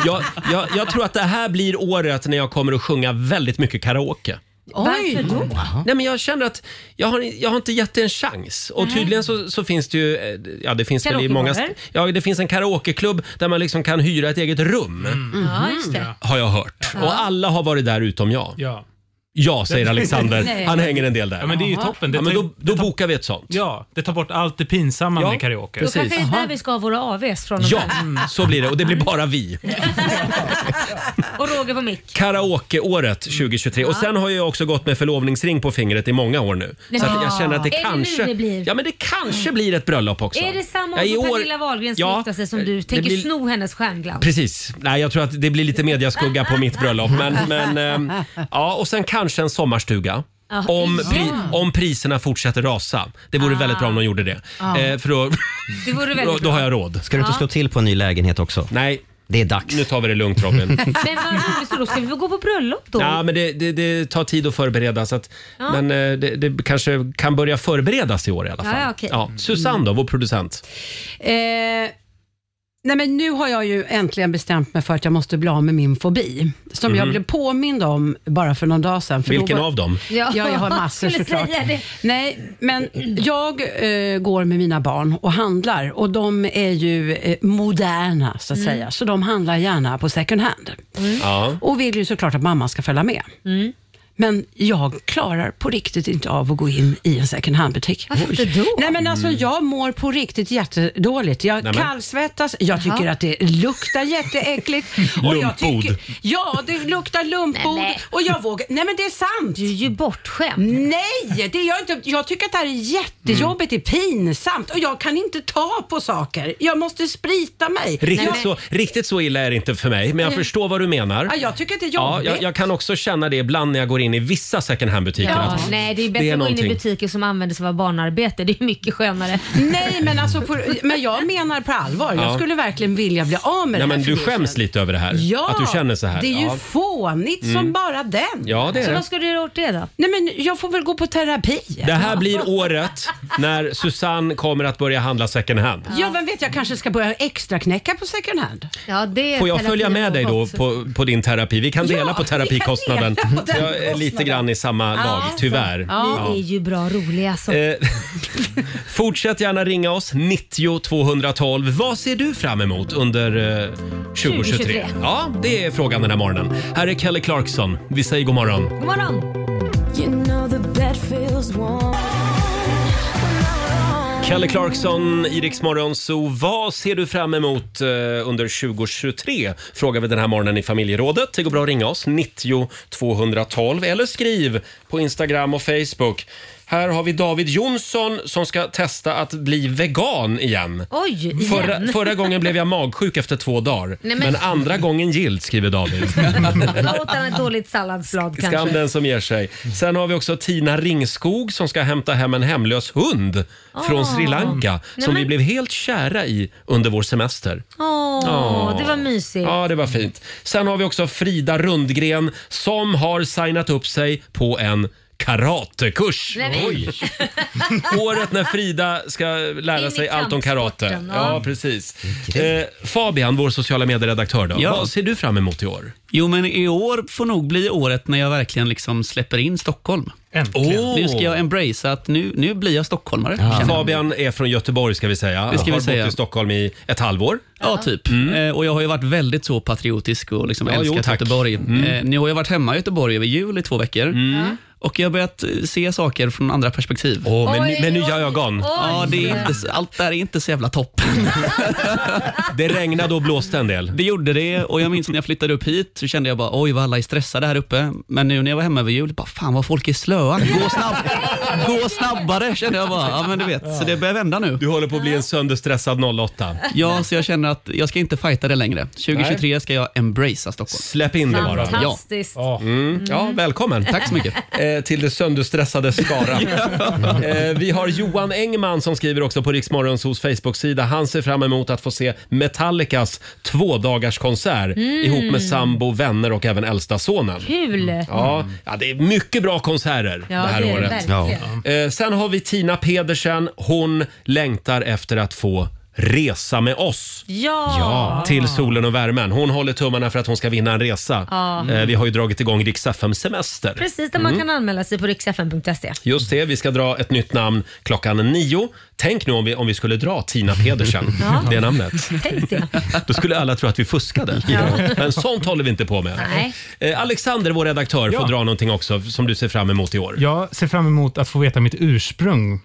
S1: Jag, jag, jag tror att det här blir året när jag kommer att sjunga väldigt mycket karaoke.
S2: Varför då?
S1: Nej, men jag känner att jag har, jag har inte gett det en chans. Och
S13: Mm.
S2: Nej.
S1: tydligen så, så finns det ju... eh, Ja, det finns väl i många... st- Ja, det finns en karaokeklubb där man liksom kan hyra ett eget rum.
S2: Ja, just det.
S4: Mm.
S1: Har jag hört.
S2: Mm. Ja.
S1: Och alla har varit där utom jag.
S5: Ja.
S1: Ja, säger Alexander.
S5: Nej.
S1: Han hänger en del där.
S5: Ja, men det är ju toppen. Det
S1: Ja, men
S5: tar
S1: då
S5: ju-
S1: då bokar vi ett sånt.
S5: Ja, det tar bort allt det pinsamma med karaoke.
S2: Då kanske det är där vi ska ha våra AVs från och
S1: Ja, Mm.
S2: med.
S1: så blir det. Och det blir bara vi.
S2: Och Roger på mick.
S1: Karaokeåret
S2: Mm.
S1: 2023. Och sen har jag också gått med förlovningsring på fingret i många år nu. Så att jag känner att det
S2: är det
S1: kanske...
S2: nu det blir?
S1: Ja, men det kanske blir ett bröllop också.
S2: Är det samma
S1: Ja,
S2: år
S1: i
S2: som
S1: år-
S2: Pernilla Wahlgren ska
S1: Ja,
S2: gifta sig som du
S1: det
S2: tänker
S1: blir-
S2: sno hennes stjärnglans?
S1: Precis. Nej, jag tror att det blir lite mediaskugga på mitt bröllop. Men, men, eh, ja, och sen kanske en sommarstuga.
S2: Ja,
S1: Om,
S2: ja. Ah.
S1: pri, om priserna fortsätter rasa. Det vore väldigt bra om de gjorde det.
S2: Ja.
S1: Eh, för då,
S2: Det vore
S1: då,
S2: väldigt
S1: då har
S2: bra.
S1: jag råd.
S3: Ska du inte
S2: Ja.
S3: slå till på en ny lägenhet också?
S1: Nej.
S3: Det är dags.
S1: Nu tar vi det lugnt Robin.
S2: Men vad roligt, så då ska vi få gå på bröllop då?
S1: Ja, men det, det, det tar tid att förbereda. Så att,
S2: Ja.
S1: Men eh, det, det kanske kan börja förberedas i år i alla fall.
S4: Ja, ja, okej.
S1: Susanne då, vår producent.
S4: Eh, nej men nu har jag ju äntligen bestämt mig för att jag måste bli av med min fobi. Som jag
S1: Mhm.
S4: blev påmind om bara för någon dag sedan. För
S1: Vilken
S4: då
S1: av dem?
S4: Ja,
S1: Ja,
S4: jag har massor
S1: jag skulle
S4: såklart.
S1: säga det.
S4: Nej, men jag eh, går med mina barn och handlar och de är ju eh, moderna så att
S10: Mm.
S4: säga. Så de handlar gärna på second hand.
S1: Ja.
S4: Och vill ju såklart att mamma ska följa med.
S2: Mm.
S4: Men jag klarar på riktigt inte av att gå in i en second hand-butik.
S10: Varför inte då?
S4: Nej, men alltså,
S10: Mm.
S4: jag mår på riktigt jättedåligt. Jag
S10: Nämen.
S4: kallsvettas, jag tycker
S10: Jaha.
S4: att det luktar jätteäckligt. jag
S10: Lumpbod.
S4: tycker, ja, det luktar lumpbod och jag vågar... Nej, men det är sant. Du är
S2: ju bortskämd.
S4: Nej, det är jag inte. Jag tycker att det här är jättejobbigt. Det är pinsamt och jag kan inte ta på saker. Jag måste sprita mig.
S1: Riktigt,
S4: jag,
S1: så, riktigt så illa är det inte för mig, men jag
S4: Nej.
S1: förstår vad du menar.
S4: Ja, jag tycker att det är
S1: Ja,
S4: jobbigt.
S1: jag, jag kan också känna det ibland när jag går in i vissa second hand-butiker.
S2: Ja,
S1: att
S2: nej, det är bättre att gå in i
S1: någonting.
S2: butiker som använder sig av barnarbete. Det är mycket skönare.
S4: Nej, men, alltså på, men jag menar på allvar.
S1: Ja.
S4: Jag skulle verkligen vilja bli av
S1: Nej,
S4: med det här
S1: men
S4: för
S1: du
S4: det
S1: skäms
S4: känns-
S1: lite över det här?
S4: Ja,
S1: Att du känner så här?
S4: det är ju
S1: ja.
S4: fånigt
S1: Mm.
S4: som bara den.
S1: Ja, det är Så det. vad ska
S2: du göra åt det då?
S4: Nej, men jag får väl gå på terapi.
S1: Det här blir året när Susanne kommer att börja handla second hand.
S4: Ja, vem vet, jag kanske ska börja extra knäcka på second hand.
S2: Ja, det
S1: Får jag följa med dig då på, på din terapi? Vi kan
S4: Ja,
S1: dela på
S4: vi kan dela på
S1: terapikostnaden.
S4: den
S1: Jag är lite
S4: kostnaden.
S1: grann i samma lag, tyvärr.
S2: Ja. Ni är ju bra roliga alltså.
S1: Eh, Fortsätt gärna ringa oss, 90 212. Vad ser du fram emot under eh, 2023?
S2: 2023?
S1: Ja, det är frågan den här morgonen. Här är Kelly Clarkson. Vi säger god morgon.
S2: God morgon!
S1: Kelly Clarkson, Iriks morgonso. Vad ser du fram emot eh, under 2023? Frågar vi den här morgonen i familjerådet. Det går bra att ringa oss, 90 212 eller skriv på Instagram och Facebook. Här har vi David Jonsson som ska testa att bli vegan igen.
S2: Oj, igen.
S1: Förra, förra gången blev jag magsjuk efter två dagar,
S2: Nej,
S1: men...
S2: men-
S1: andra gången gillt, skriver David.
S2: Åt han ett dåligt salladsblad kanske?
S1: Skam den som ger sig. Sen har vi också Tina Ringskog som ska hämta hem en hemlös hund från
S2: Ah.
S1: Sri Lanka
S2: Nej,
S1: som
S2: men-
S1: vi blev helt kära i under vår semester.
S2: Åh,
S1: Ja.
S2: det var mysigt.
S1: Ja, det var fint. Sen har vi också Frida Rundgren som har signat upp sig på en karatekurs.
S2: Nej, men-
S1: Året när Frida ska lära
S2: In
S1: sig
S2: i
S1: allt om karate.
S2: kampsporten, ja.
S1: Ja, precis. Eh, Fabian, vår sociala medieredaktör då.
S16: Ja.
S1: Vad ser du fram emot i år?
S16: Jo, men i år får nog bli året när jag verkligen liksom släpper in Stockholm. Äntligen. Nu ska jag embracea att nu, nu blir jag stockholmare. känner jag.
S1: Fabian är från Göteborg ska vi säga.
S16: Det ska vi
S1: har
S16: säga.
S1: bott i Stockholm i ett halvår. Mm.
S16: Ja, typ. Eh, Och jag har ju varit väldigt så patriotisk och liksom
S1: Ja, jo,
S16: älskat
S1: tack.
S16: Göteborg.
S1: Mm.
S16: Eh, Nu har jag varit hemma i Göteborg över jul i två veckor. Och jag har börjat eh, se saker från andra perspektiv.
S1: Oh, med, med nya ögon.
S16: Ja, det är inte, så- allt där är inte så jävla toppen.
S1: Det regnade och blåste en del.
S16: Det gjorde det och jag minns när jag flyttade upp hit så kände jag bara oj vad alla är stressade här uppe. Men nu när jag var hemma över jul, bara fan vad folk är slöa. Gå, snabb, gå snabbare kände jag bara. Ja, men du vet, så det börjar vända nu.
S1: Du håller på att bli en sönderstressad 08.
S16: Ja, så jag känner att jag ska inte fighta det längre. 2023 ska jag embracea Stockholm.
S1: Släpp in det bara.
S2: Fantastiskt.
S1: Ja. Mm. ja, välkommen.
S16: Tack så mycket.
S1: Eh, till det sönderstressade Skara. eh, vi har Johan Engman som skriver också på Riksmorgonsos Facebook-sida. Han ser fram emot att få se Metallicas tvådagarskonsert
S2: Mm.
S1: ihop med sambo, vänner och även äldsta sonen.
S2: Kul!
S1: Mm. Ja, ja, det är mycket bra konserter
S2: Ja,
S1: det här
S2: det är det
S1: året.
S2: verkligen.
S1: Eh, sen har vi Tina Pedersen. Hon längtar efter att få Resa med oss.
S2: Ja!
S1: Till solen och värmen. Hon håller tummarna för att hon ska vinna en resa.
S2: Ja.
S1: Eh, Vi har ju dragit igång Rix FM semester.
S2: Precis, där man
S1: Mm.
S2: kan anmäla sig på riksfn.se.
S1: Just det, vi ska dra ett nytt namn klockan nio. Tänk nu om vi, om vi skulle dra Tina Pedersen,
S2: Ja.
S1: det namnet.
S2: Tänk det.
S1: Då skulle alla tro att vi fuskade.
S2: Ja.
S1: Men sånt håller vi inte på med.
S2: Nej.
S1: Eh, Alexander, vår redaktör, får
S5: Ja.
S1: dra någonting också som du ser fram emot i år.
S5: Jag ser fram emot att få veta mitt ursprung.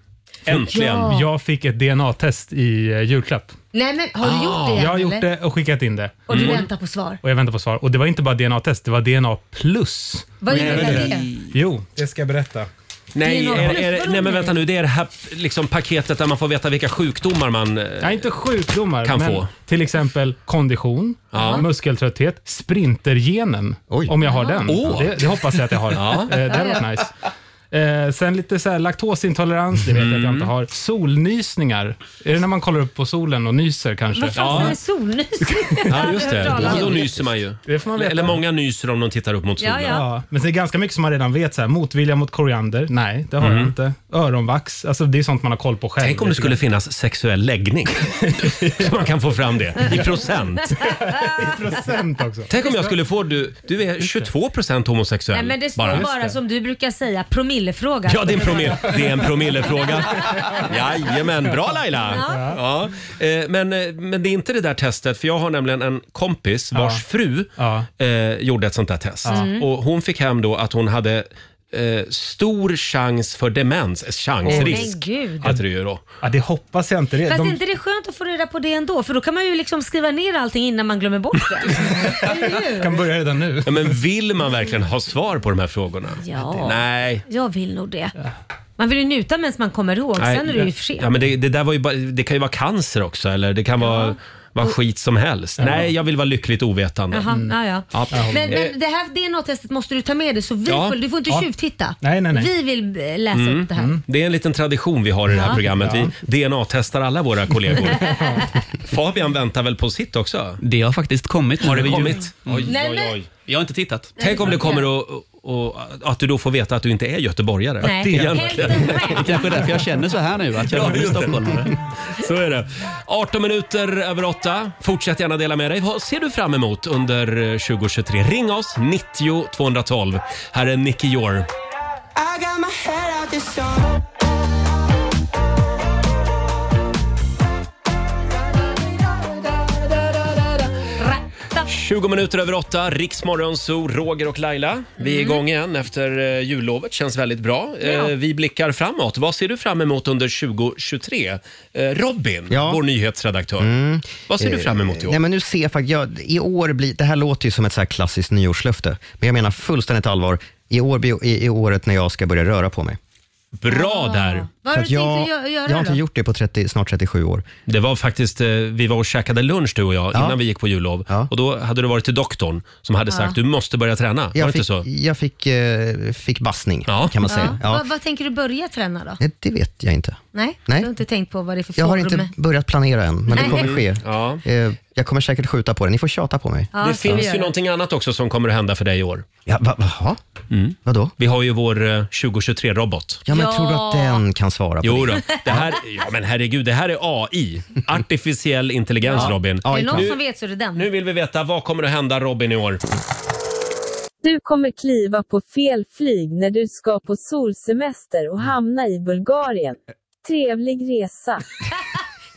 S1: Äntligen. Ja.
S5: Jag fick ett DNA-test i eh, julklapp. Ah.
S2: Nej men
S1: Ah.
S2: har du gjort det än,
S5: Jag har gjort
S2: eller?
S5: det och skickat in det.
S2: Och du
S1: Mm.
S5: Och-
S2: väntar på svar?
S5: Och jag väntar på svar. Och det var inte bara DNA-test, det var DNA plus.
S2: Vad innebär
S5: Nej,
S2: det?
S5: Jo, det ska jag berätta.
S1: Nej,
S5: DNA.
S1: är, är, nej, men vänta nu. Det är det här liksom, paketet där man får veta vilka sjukdomar man... eh,
S5: Ja, inte sjukdomar,
S1: Kan
S5: men
S1: få.
S5: till exempel kondition,
S1: Ja.
S5: muskeltrötthet, sprintergenen, om jag har den.
S1: Åh.
S5: Det, det hoppas jag att jag har.
S1: Ja.
S5: Eh, det hade varit nice. Eh, sen lite så här laktosintolerans, det vet jag att jag
S1: Mm.
S5: inte har. Solnysningar, är det när man kollar upp på solen och nyser kanske?
S2: Vad fan är solnysning?
S1: Ja, just det. Då, då nyser man ju.
S5: man veta.
S1: Eller många nyser om de tittar upp mot solen.
S5: Men det är ganska mycket som man redan vet. Så här, motvilja mot koriander? Nej, det har
S1: Mm.
S5: jag inte. Öronvax? Alltså, det är sånt man har koll på själv.
S1: Tänk om det skulle finnas sexuell läggning. Så man kan få fram det i procent.
S5: I procent också.
S1: Tänk om jag skulle få... Du, du är 22 procent homosexuell.
S2: Nej, men det står bara, som du brukar säga, promillefråga.
S1: Ja, det är en, promille, det är en promillefråga. Jajamän, bra Laila! Ja. Eh, Men, eh, men det är inte det där testet, för jag har nämligen en kompis vars
S5: Ja.
S1: fru eh, gjorde ett sånt där test.
S5: Ja. Mm.
S1: Och hon fick hem då att hon hade eh, stor chans för demens, eh, chansrisk
S2: Men gud.
S1: heter det ju då.
S5: Ja, det hoppas jag inte.
S2: Fast är inte det är skönt att få reda på det ändå? För då kan man ju liksom skriva ner allting innan man glömmer bort det.
S5: kan börja redan nu.
S1: Ja, men vill man verkligen ha svar på de här frågorna?
S2: Ja.
S1: Nej.
S2: Jag vill nog det. Man vill ju njuta medan man kommer ihåg, sen är det ju för sent.
S1: Ja, men det, det, där var ju bara, det kan ju vara cancer också, eller det kan vara, vara skit som helst.
S2: Ja.
S1: Nej, jag vill vara lyckligt ovetande.
S2: Jaha, ja, ja.
S1: Mm. Ja.
S2: Men,
S1: Eh,
S2: men det här DNA-testet måste du ta med dig så vi
S1: Ja.
S2: får, du får inte
S1: Ja.
S2: tjuvtitta.
S1: Nej, nej, nej.
S2: Vi vill eh, läsa upp det här.
S1: mm. Det är en liten tradition vi har i det här
S2: Ja.
S1: programmet. Vi DNA-testar alla våra kollegor. Fabian väntar väl på sitt också?
S16: Det har faktiskt kommit.
S1: Har det
S16: nu.
S1: kommit? Oj,
S2: Nej, oj, men- oj.
S16: Jag har inte tittat.
S1: Tänk om det kommer och, och, att du då får veta att du inte är göteborgare.
S16: Nej.
S1: Det är
S16: Hälften Det är kanske är därför jag känner så här nu, att jag är stockholmare.
S1: Så är det. 18 minuter över 8. Fortsätt gärna dela med dig. Vad ser du fram emot under eh, 2023? Ring oss, 90 212. Här är Nicky Jor.
S10: I got my head out this song.
S2: Tack.
S1: 20 minuter över 8, Riksmorgon, Zoo, Roger och Laila. Vi är igång igen efter eh, jullovet, känns väldigt bra. Eh,
S3: Mm. Ja.
S1: Vi blickar framåt. Vad ser du fram emot under 2023? Eh, Robin, vår nyhetsredaktör. Vad ser du
S3: Eh,
S1: fram emot i år?
S3: Nej, men nu ser jag faktiskt, jag, i år blir, det här låter ju som ett så här klassiskt nyårslöfte, men jag menar fullständigt allvar, i år blir i, i året när jag ska börja röra på mig. Ah.
S1: Bra där!
S2: Vad
S3: Så
S2: har
S3: att
S2: du
S3: jag,
S2: tänkt att gö- göra
S3: Jag har inte
S2: då?
S3: gjort det på 30, snart 37 år.
S1: Det var faktiskt, eh, vi var och käkade lunch du och jag innan vi gick på jullov. Och då hade du varit till doktorn som hade
S2: Ja.
S1: sagt du måste börja träna. var det
S3: Jag fick,
S1: inte så?
S3: jag fick, eh, fick bassning, kan man säga. Ja.
S2: Vad, vad tänker du börja träna då?
S3: Nej, det vet jag inte.
S2: Nej?
S3: Nej.
S2: Du har inte tänkt på vad det är för
S3: Jag har
S2: forum?
S3: inte börjat planera än, men det
S2: Nej.
S3: kommer ske. Eh, Jag kommer säkert skjuta på det. Ni får tjata på mig.
S1: Mm. det finns ju någonting annat också som kommer att hända för dig i år.
S3: Ja, va, va? Mm. Vadå?
S1: Vi har ju vår eh, 2023-robot.
S3: Ja, men tror du att den kan svara på
S1: Jo då.
S3: det?
S1: Det här, ja, men herregud, det här är AI. Artificiell intelligens,
S2: Ja.
S1: Robin.
S2: Är det någon som
S1: Nu,
S2: vet så är det den.
S1: nu vill vi veta, vad kommer att hända Robin i år?
S12: Du kommer kliva på fel flyg när du ska på solsemester och hamna i Bulgarien. Trevlig resa.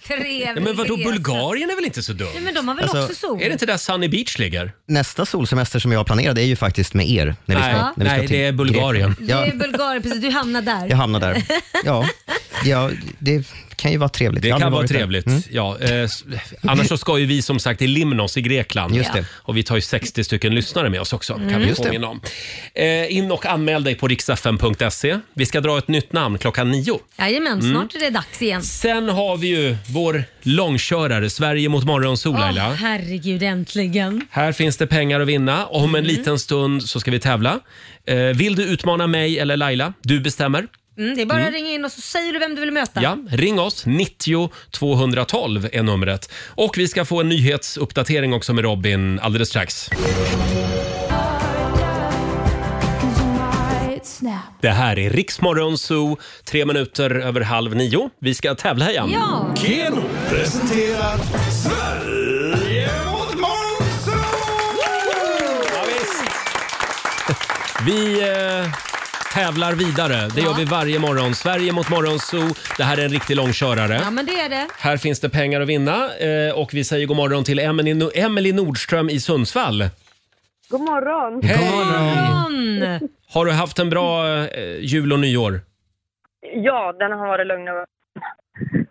S2: Trevlig
S1: Ja, men vadå,
S2: resa.
S1: Bulgarien är väl inte så dumt?
S2: Ja, men de har väl
S3: Alltså,
S2: också sol?
S1: Är det inte där Sunny Beach ligger?
S3: Nästa solsemester som jag har planerat är ju faktiskt med er. När vi
S1: Nej.
S3: ska, när vi ska
S1: Nej,
S3: till
S1: det är Bulgarien.
S2: Det
S3: Grekland.
S2: är Bulgarien, precis. Du hamnar där.
S3: Ja, jag hamnar där. Ja, ja, det kan ju vara trevligt.
S1: Det
S3: Jag har
S1: kan
S3: aldrig
S1: vara
S3: varit där.
S1: trevligt.
S3: Mm.
S1: Ja, eh, s- annars så ska ju vi som sagt till Limnos i Grekland.
S3: Just det.
S1: Och vi tar ju 60 stycken lyssnare med oss också. Kan
S3: Mm.
S1: vi
S3: Just det.
S1: påminna om. Eh, in och anmäl dig på riksfn.se. Vi ska dra ett nytt namn klockan nio.
S2: Jajamän,
S1: Mm.
S2: snart är det dags igen.
S1: Sen har vi ju vår långkörare, Sverige mot morgonsol,
S2: Åh,
S1: Laila.
S2: herregud, äntligen.
S1: Här finns det pengar att vinna. Om en
S3: Mm.
S1: liten stund så ska vi tävla. Eh, vill du utmana mig eller Laila? Du bestämmer.
S2: Mm, det är bara
S1: Mm.
S2: att ringa in och så säger du vem du vill möta.
S1: Ja, ring oss. 90 212 är numret. Och vi ska få en nyhetsuppdatering också med Robin alldeles strax.
S10: snap.
S1: Det här är Riksmorgon Zoo, tre minuter över halv nio. Vi ska tävla igen.
S10: Ja.
S15: Keno presenterar Sverige mot Monzo!
S1: Vi eh, tävlar vidare. Det gör vi varje morgon. Sverige mot Morgonzoo. Det här är en riktig långkörare.
S2: Ja, men det är det.
S1: Här finns det pengar att vinna eh, och vi säger god morgon till Emily, No- Emily Nordström i Sundsvall.
S11: God morgon.
S1: Hej. God
S2: morgon.
S1: Har du haft en bra eh, jul och nyår?
S11: Ja, den har varit lugn och...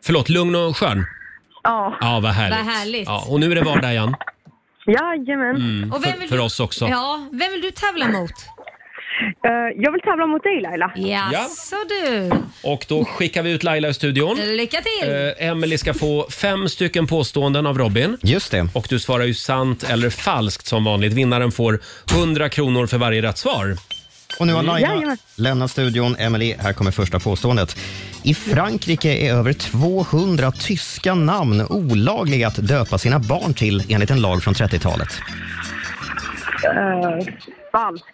S1: Förlåt, lugn och skön?
S11: Ja.
S1: Ja, vad härligt.
S2: Vad härligt.
S1: Ja, och nu är det vardag igen.
S11: Jajamän.
S1: Mm,
S2: Och vem
S1: för,
S2: vill
S1: för
S2: du-
S1: oss också. Mm.
S2: Ja, vem vill du tävla mot?
S11: Eh, jag vill tävla mot dig Laila.
S2: Jaså du.
S1: Och då skickar vi ut Laila i studion.
S2: Lycka till.
S1: Eh, Emily ska få fem stycken påståenden av Robin.
S3: Just det.
S1: Och du svarar ju sant eller falskt som vanligt. Vinnaren får 100 kronor för varje rätt svar.
S3: Och nu har Laila
S11: Mm.
S1: Jajamän.
S3: lämnat studion. Emily, här kommer första påståendet. I Frankrike är över 200 tyska namn olagliga att döpa sina barn till enligt en lag från 30-talet.
S11: Eh, falskt.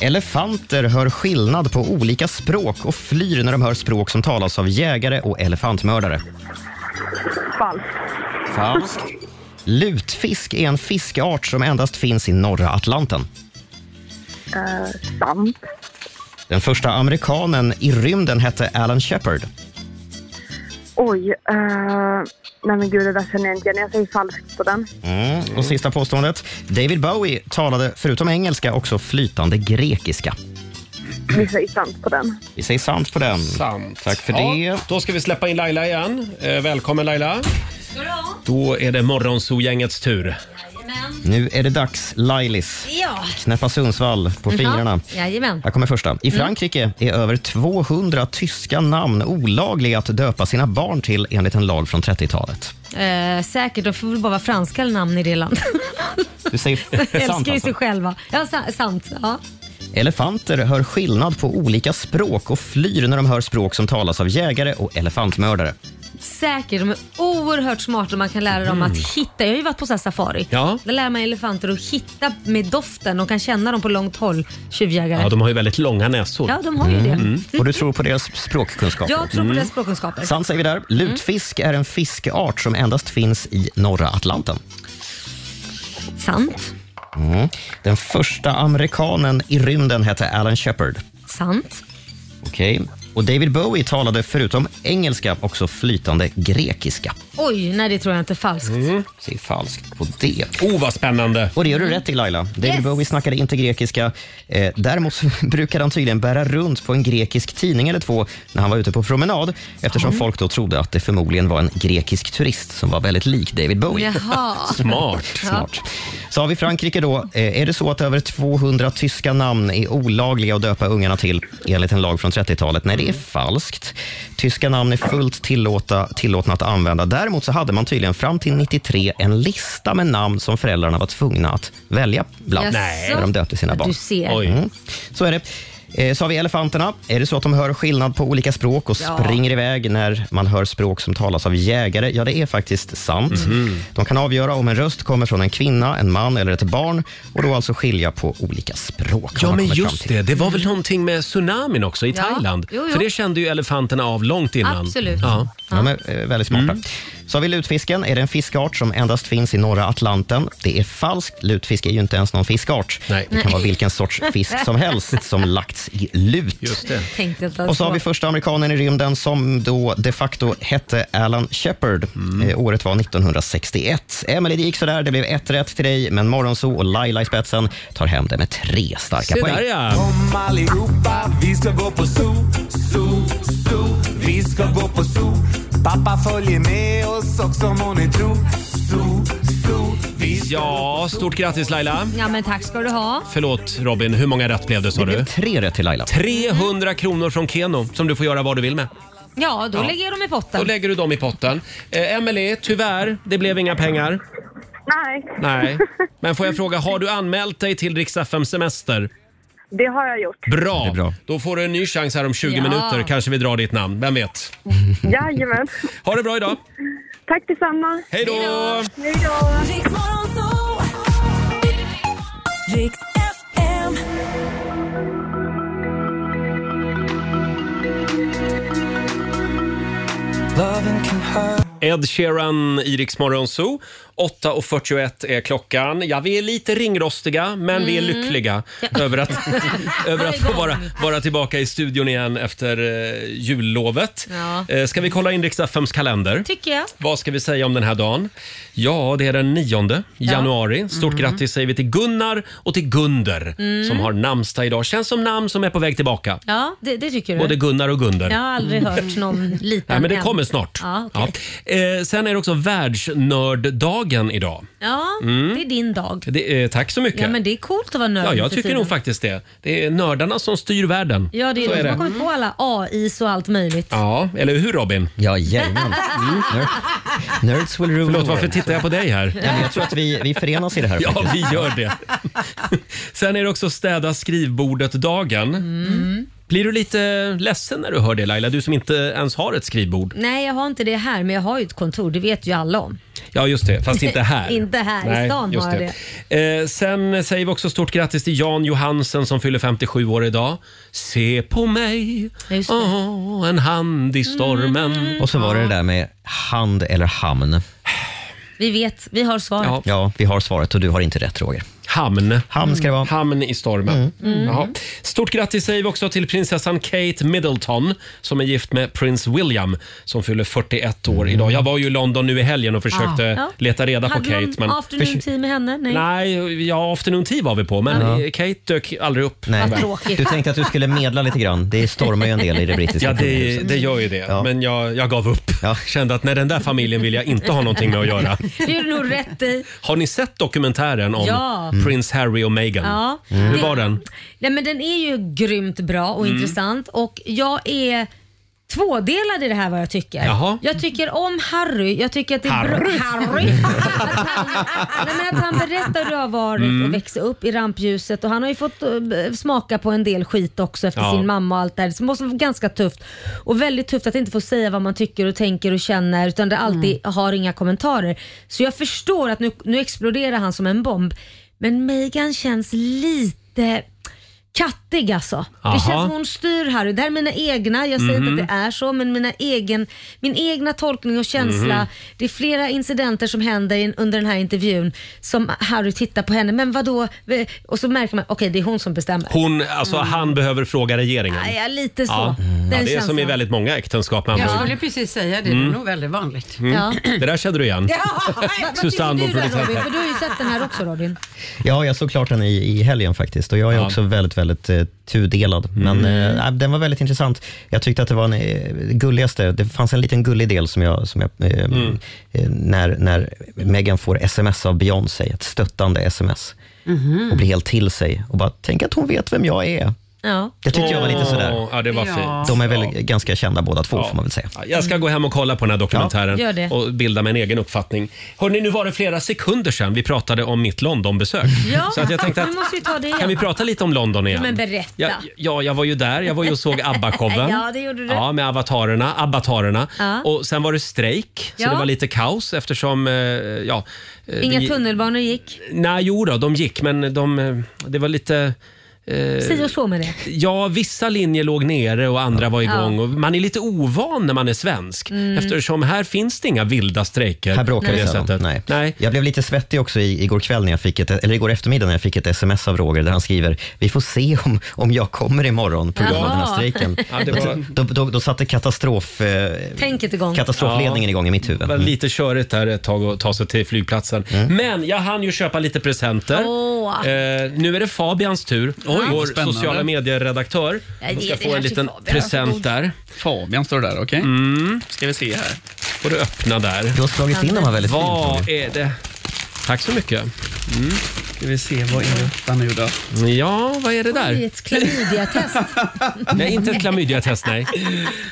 S3: Elefanter hör skillnad på olika språk och flyr när de hör språk som talas av jägare och elefantmördare.
S11: Falskt.
S3: Falskt. Lutfisk är en fiskart som endast finns i norra Atlanten.
S11: Eh, sant.
S3: Den första amerikanen i rymden hette Alan Shepard.
S11: Oj. eh, nej men gud, det där känner jag inte igen. Jag säger falskt på den.
S3: Mm. Och sista påståendet. David Bowie talade förutom engelska också flytande grekiska.
S11: Vi säger sant på den.
S3: Vi säger sant på den.
S1: Sant.
S3: Tack för
S1: Ja,
S3: det.
S1: Då ska vi släppa in Laila igen. Eh, välkommen Laila. Då är det Morgonzoo-gängets tur.
S3: Nu är det dags, Lailis.
S2: Ja.
S3: Knäppa Sundsvall på
S2: Jaha.
S3: fingrarna.
S2: Jajamän. Mm.
S3: Här kommer första. I Frankrike är över 200 tyska namn olagliga att döpa sina barn till enligt en lag från 30-talet.
S2: Eh, säkert, då får väl bara vara franska namn i det landet.
S3: Du säger sant
S2: älskar ju
S3: alltså.
S2: sig själva. Ja, sa- sant. Ja.
S3: Elefanter hör skillnad på olika språk och flyr när de hör språk som talas av jägare och elefantmördare.
S2: Säkert, de är oerhört smarta och man kan lära dem att hitta. Jag har ju varit på så här safari.
S1: Mm. Ja.
S2: Där lär man elefanter att hitta med doften. De kan känna dem på långt håll, tjuvjägare.
S1: Ja, de har ju väldigt långa näsor. Mm.
S2: Ja, de har ju det.
S3: Mm. Och du tror på deras språkkunskaper?
S2: Jag tror på deras språkkunskaper.
S3: Sant säger vi där. Lutfisk är en fiskart som endast finns i norra Atlanten.
S2: Sant.
S3: Mm. Den första amerikanen i rymden hette Alan Shepard.
S2: Sant.
S3: Okej. Och David Bowie talade förutom engelska också flytande grekiska.
S2: Oj, nej det tror jag inte är falskt.
S1: Mhm.
S3: Det är falskt på det.
S1: Oh, vad spännande!
S3: Och det gör du rätt i Laila. David
S2: Yes.
S3: Bowie snackade inte grekiska. Eh, däremot så brukade han tydligen bära runt på en grekisk tidning eller två när han var ute på promenad eftersom
S2: Ja.
S3: folk då trodde att det förmodligen var en grekisk turist som var väldigt lik David Bowie.
S2: Jaha.
S3: Smart.
S2: Ja.
S3: Smart. Så har vi Frankrike då. Eh, Är det så att över 200 tyska namn är olagliga att döpa ungarna till enligt en lag från 30-talet? Nej, det är
S1: Mm.
S3: falskt. Tyska namn är fullt tillåta, tillåtna att använda. Däremot så hade man tydligen fram till 93 en lista med namn som föräldrarna var tvungna att välja bland
S1: Jaså?
S3: när de döpte sina
S1: Ja,
S3: barn. Mm.
S1: du ser. Oj.
S3: Så är det. Eh, Så har vi elefanterna. Är det så att de hör skillnad på olika språk och
S1: Ja.
S3: springer iväg när man hör språk som talas av jägare? Ja, det är faktiskt sant.
S1: Mhm.
S3: De kan avgöra om en röst kommer från en kvinna, en man eller ett barn och då alltså skilja på olika språk. har
S1: Ja,
S3: man
S1: men
S3: kommit fram
S1: just
S3: till.
S1: det. Det var väl någonting med tsunamin också i
S2: Ja.
S1: Thailand?
S2: Jo, jo.
S1: För det kände ju elefanterna av långt innan.
S2: Absolut.
S1: Ja. Mm.
S3: De är eh, väldigt smarta. Så har vi lutfisken. Är det en fiskart som endast finns i norra Atlanten? Det är falskt. Lutfisk är ju inte ens någon fiskart. Det kan
S2: Nej.
S3: vara vilken sorts fisk som helst som lagts i lut.
S2: Tänkte inte ens
S3: Och så har
S2: på.
S3: vi första amerikanen i rymden som då de facto hette Alan Shepard.
S1: Mm.
S3: Eh, året var 1961. Emelie, det gick sådär. Det blev ett rätt till dig, men Morgonzoo och Laila i spetsen tar hem det med tre starka poäng.
S10: Kom allihopa, vi ska gå på zoo, zoo, zoo. Vi ska gå på zoo. Pappa följer med oss också må ni tro. Zoo, zoo.
S1: ja, stort grattis Laila.
S2: Ja, men tack ska du ha.
S1: Förlåt Robin, hur många rätt blev det sa du?
S3: tre rätt till Laila.
S1: 300 kronor från Keno som du får göra vad du vill med.
S2: Ja, då
S1: Ja.
S2: lägger jag dem i
S1: Då
S2: potten.
S1: lägger du dem i potten. Eh, Emelie, tyvärr, det blev inga pengar.
S11: Nej.
S1: Nej. Men får jag fråga, har du anmält dig till Rix FM Semester?
S11: Det har jag gjort.
S1: Bra. Då får du en ny chans här om 20
S11: Ja.
S1: minuter. Kanske vi drar ditt namn, vem vet?
S11: Jajamän.
S1: Ha det bra idag.
S11: Tack detsamma.
S1: Hej då!
S11: Hej då!
S10: Riks FM.
S1: Ed Sheeran, i Rix Morgon Zoo. 8.41 är klockan. Ja, vi är lite ringrostiga, men vi är
S2: Mm.
S1: lyckliga
S2: Ja.
S1: över att, över att få
S2: Igång.
S1: vara, vara tillbaka i studion igen efter eh, jullovet.
S2: Ja.
S1: Eh, ska vi kolla in Rix FMs kalender?
S2: Tycker jag.
S1: Vad ska vi säga om den här dagen? Ja, det är den 9
S2: Ja.
S1: januari. Stort
S2: Mm.
S1: grattis säger vi till Gunnar och till Gunder
S2: Mm.
S1: som har namnsdag idag. Känns som namn som är på väg tillbaka.
S2: Ja, det, det tycker du?
S1: Både Gunnar och Gunder.
S2: Jag har aldrig hört någon liten
S1: Nej, men det
S2: än.
S1: kommer snart.
S2: Ja, okej.
S1: Ja. Eh, sen är det också världsnörddagen idag.
S2: ja
S1: Mm.
S2: det är din dag.
S1: Det, eh, tack så mycket.
S2: Ja, men det är coolt att vara nörd
S1: Ja,
S2: nu
S1: jag
S2: för
S1: tycker
S2: tiden.
S1: nog faktiskt det. Det är nördarna som styr världen.
S2: Ja, det är
S1: Så Mm.
S2: de som har kommit på alla AIs och allt möjligt.
S1: Ja, eller hur Robin?
S3: Ja, jajamän. Mm, Nerds will rule
S1: Förlåt,
S3: the world.
S1: varför tittar jag på dig här?
S3: Ja, men jag tror att vi, vi förenas i det här.
S1: Ja,
S3: faktiskt.
S1: vi gör det. Sen är det också städa skrivbordet-dagen.
S2: Mm.
S1: Blir du lite ledsen när du hör det Laila? Du som inte ens har ett skrivbord.
S2: Nej, jag har inte det här, men jag har ju ett kontor. Det vet ju alla om.
S1: Ja, just det. Fast inte här.
S2: Inte här. I stan
S1: just
S2: har jag
S1: Eh, sen säger vi också stort grattis till Jan Johansen som fyller 57 år idag. Se på mig, Åh, en hand i stormen.
S3: Och så var det det där med hand eller hamn.
S2: Vi vet, vi har svaret.
S3: Ja. vi har svaret och du har inte rätt Roger.
S1: Hamn.
S3: Hamn ska det vara.
S1: Hamn i stormen.
S3: Mm.
S1: Jaha. Stort grattis säger vi också till prinsessan Kate Middleton som är gift med prins William som fyller 41 år idag. Jag var ju i London nu i helgen och försökte
S2: Mm. Ah. Ja. Ja.
S1: leta reda på
S2: Hade
S1: Kate.
S2: någon afternoon tea med henne? Nej.
S1: Nej, ja, afternoon tea var vi på, men
S3: Ja.
S1: Kate dök aldrig upp.
S3: Nej.
S1: Tyvärr.
S2: tråkigt.
S3: Du tänkte att du skulle medla lite grann. Det stormar ju en del i det brittiska
S1: Ja, det,
S3: kungahuset.
S1: det gör ju det. Men jag, jag gav upp. Kände att nej, den där familjen vill jag inte ha någonting med att göra.
S2: Det gör du nog rätt i.
S1: Har ni sett dokumentären om
S2: Ja.
S1: prins Harry och Meghan?
S2: Ja. Mm.
S1: Hur var den?
S2: Nej, men den är ju grymt bra och
S1: Mm.
S2: intressant och jag är tvådelad i det här vad jag tycker.
S1: Jaha.
S2: Jag tycker om Harry. Jag tycker att det är
S1: Harry.
S2: bra. Harry. Nej, men att han berättar hur det har varit
S1: Mm.
S2: och växa upp i rampljuset och han har ju fått eh, smaka på en del skit också efter
S1: Ja.
S2: sin mamma och allt det här. Det måste vara ganska tufft och väldigt tufft att inte få säga vad man tycker och tänker och känner utan det alltid
S1: Mm.
S2: har inga kommentarer. Så jag förstår att nu, nu exploderar han som en bomb. Men Meghan känns lite kattig alltså.
S10: Aha.
S2: Det känns som hon styr här. Det här är mina egna, jag säger
S10: Mhm.
S2: inte att det är så, men mina egen, min egna tolkning och känsla.
S10: Mhm.
S2: Det är flera incidenter som händer in, under den här intervjun som Harry tittar på henne, men vad då? Och så märker man, okej det är hon som bestämmer.
S1: Hon, alltså han behöver fråga regeringen.
S2: Mm. Ja, ja, lite så.
S1: Ja.
S2: Den
S1: Ja, det är som
S2: känslan.
S1: i väldigt många äktenskap med andra
S4: Jag
S1: ord.
S4: skulle precis säga det, det
S1: Mm.
S4: är nog väldigt vanligt.
S1: Mm. Det där kände du igen.
S2: Vad
S1: Susanne,
S2: tycker du
S1: vår
S2: där,
S1: producent
S2: Robin?
S1: här.
S2: För du har ju sett den här också Robin.
S3: Ja, jag såg klart den i, i helgen faktiskt och jag är
S1: Ja. Mm.
S3: också väldigt, väldigt eh, tudelad. Men eh, nej, den var väldigt intressant. Jag tyckte att det var den eh, gulligaste. Det fanns en liten gullig del som jag, som jag eh,
S1: Mm.
S3: eh, när, när Megan får sms av Beyoncé, ett stöttande sms
S2: Mm.
S3: och blir helt till sig och bara, tänk att hon vet vem jag är.
S2: Ja.
S3: Det tyckte jag var lite sådär.
S1: Ja, det var fint.
S3: De är väl ganska kända båda två
S1: Ja.
S3: får man väl säga.
S1: Ja, Jag ska gå hem och kolla på den här dokumentären
S2: Mm. Ja, gör det.
S1: och bilda mig en egen uppfattning. Hörrni, nu var det flera sekunder sedan vi pratade om mitt Londonbesök.
S2: Ja,
S1: Så att jag tänkte
S2: nu
S1: att,
S2: måste vi ta det igen.
S1: kan vi prata lite om London igen?
S2: Men berätta.
S1: Ja, ja, jag var ju där. Jag var ju och såg ABBA-showen.
S2: Ja, det gjorde du.
S1: Ja, med avatarerna. Abbatarerna.
S2: Ja.
S1: Och sen var det strejk, så
S2: Ja.
S1: det var lite kaos eftersom... eh, Ja, eh,
S2: Inga
S1: det-
S2: tunnelbanor gick.
S1: Nej, jo då, de gick, men de, eh, det var lite... eh,
S2: Si och så med det.
S1: Ja, vissa linjer låg nere och andra var igång.
S2: Ja.
S1: Och man är lite ovan när man är svensk
S3: Mm.
S1: eftersom här finns det inga vilda strejker.
S3: Här bråkar
S1: på
S3: vi
S1: det
S3: sällan.
S1: sättet.
S3: Nej. Jag blev lite svettig också i, igår kväll när jag fick ett, eller igår eftermiddag när jag fick ett sms av Roger där han skriver vi får se om, om jag kommer imorgon på grund av
S2: Jaha.
S3: den här strejken.
S2: Ja, det var-
S3: då, då, då satte katastrof, eh,
S2: Tänket igång.
S3: katastrofledningen igång i mitt huvud.
S16: Mm.
S1: Det var lite körigt där ett tag att ta sig till flygplatsen. Men jag hann ju köpa lite presenter.
S2: Åh.
S1: Eh, nu är det Fabians tur, vår
S16: spännande.
S1: sociala medieredaktör.
S2: Jag
S1: Hon
S2: ger
S1: ska
S2: det
S1: få
S2: här
S1: en
S2: till
S1: liten
S2: Fabian.
S1: present där.
S16: Fabian står där, okej.
S1: Mm.
S16: Ska vi se här.
S1: Får du öppna där. Du
S3: har slagit in dem här väldigt
S1: Vad
S16: fint,
S1: är det? Tack så mycket. Mm.
S16: Ska vi se, vad är detta nu då?
S1: Ja, vad är det
S2: Det är
S1: där?
S2: ett klamydiatest.
S1: Nej, inte ett klamydiatest, nej.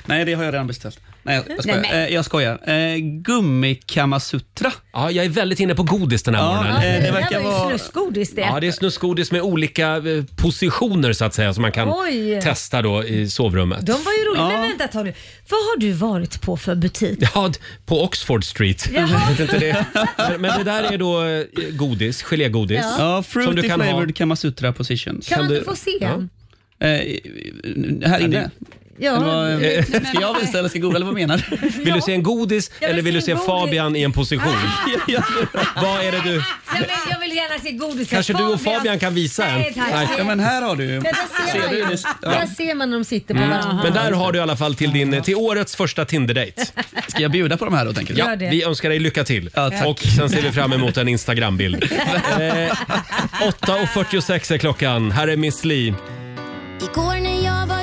S16: Nej, det har jag redan beställt. Nej, jag skojar.
S2: Nej, men-
S16: Eh, Jag skojar. Eh, Gummikammasutra.
S1: Ja, jag är väldigt inne på godis den här morgonen.
S16: Ja, eh, det
S2: Det
S16: verkar
S2: här var
S16: vara...
S2: ju snuskgodis det.
S1: Ja, det är snuskgodis med olika eh, positioner så att säga som man kan
S2: Oj.
S1: testa då i sovrummet.
S2: De var ju roliga.
S1: Ja.
S2: Men vänta ett tag nu. Vad har du varit på för butik?
S1: Ja, d- på Oxford Street.
S2: Jaha.
S1: Jag vet inte det. Men- Men det där är då eh, godis, gelégodis.
S2: Ja.
S16: Ja,
S1: som du
S16: fruity
S1: kan ha.
S16: flavored Kamasutra position.
S2: Kan man inte få se en?
S16: Eh, här inne.
S2: Ja, Ja.
S16: Eller vad-
S2: Eh,
S16: Ska jag visa eller ska googla eller vad menar du?
S1: Vill du se en godis
S2: Jag vill
S1: eller vill du
S2: se
S1: se
S2: en godis. Ah.
S1: Fabian i en position? Vad är det du...
S2: Jag vill, jag vill gärna se godiset.
S1: Kanske du och Fabian kan visa en?
S2: Nej, tack. Ja, men
S16: här har du
S2: Ja, där ser, man ju. Där ser man när de sitter på
S1: Mm.
S2: varandra.
S1: Men där har du i alla fall till, din, till årets första Tinder-date.
S16: Ska jag bjuda på de här då tänker
S2: du?
S1: Ja,
S2: Gör det.
S1: vi önskar dig lycka till.
S2: tack.
S1: Och sen ser vi fram emot en Instagram-bild. Eh, 8.46 är klockan. Här är Miss Li.
S10: Igår när jag var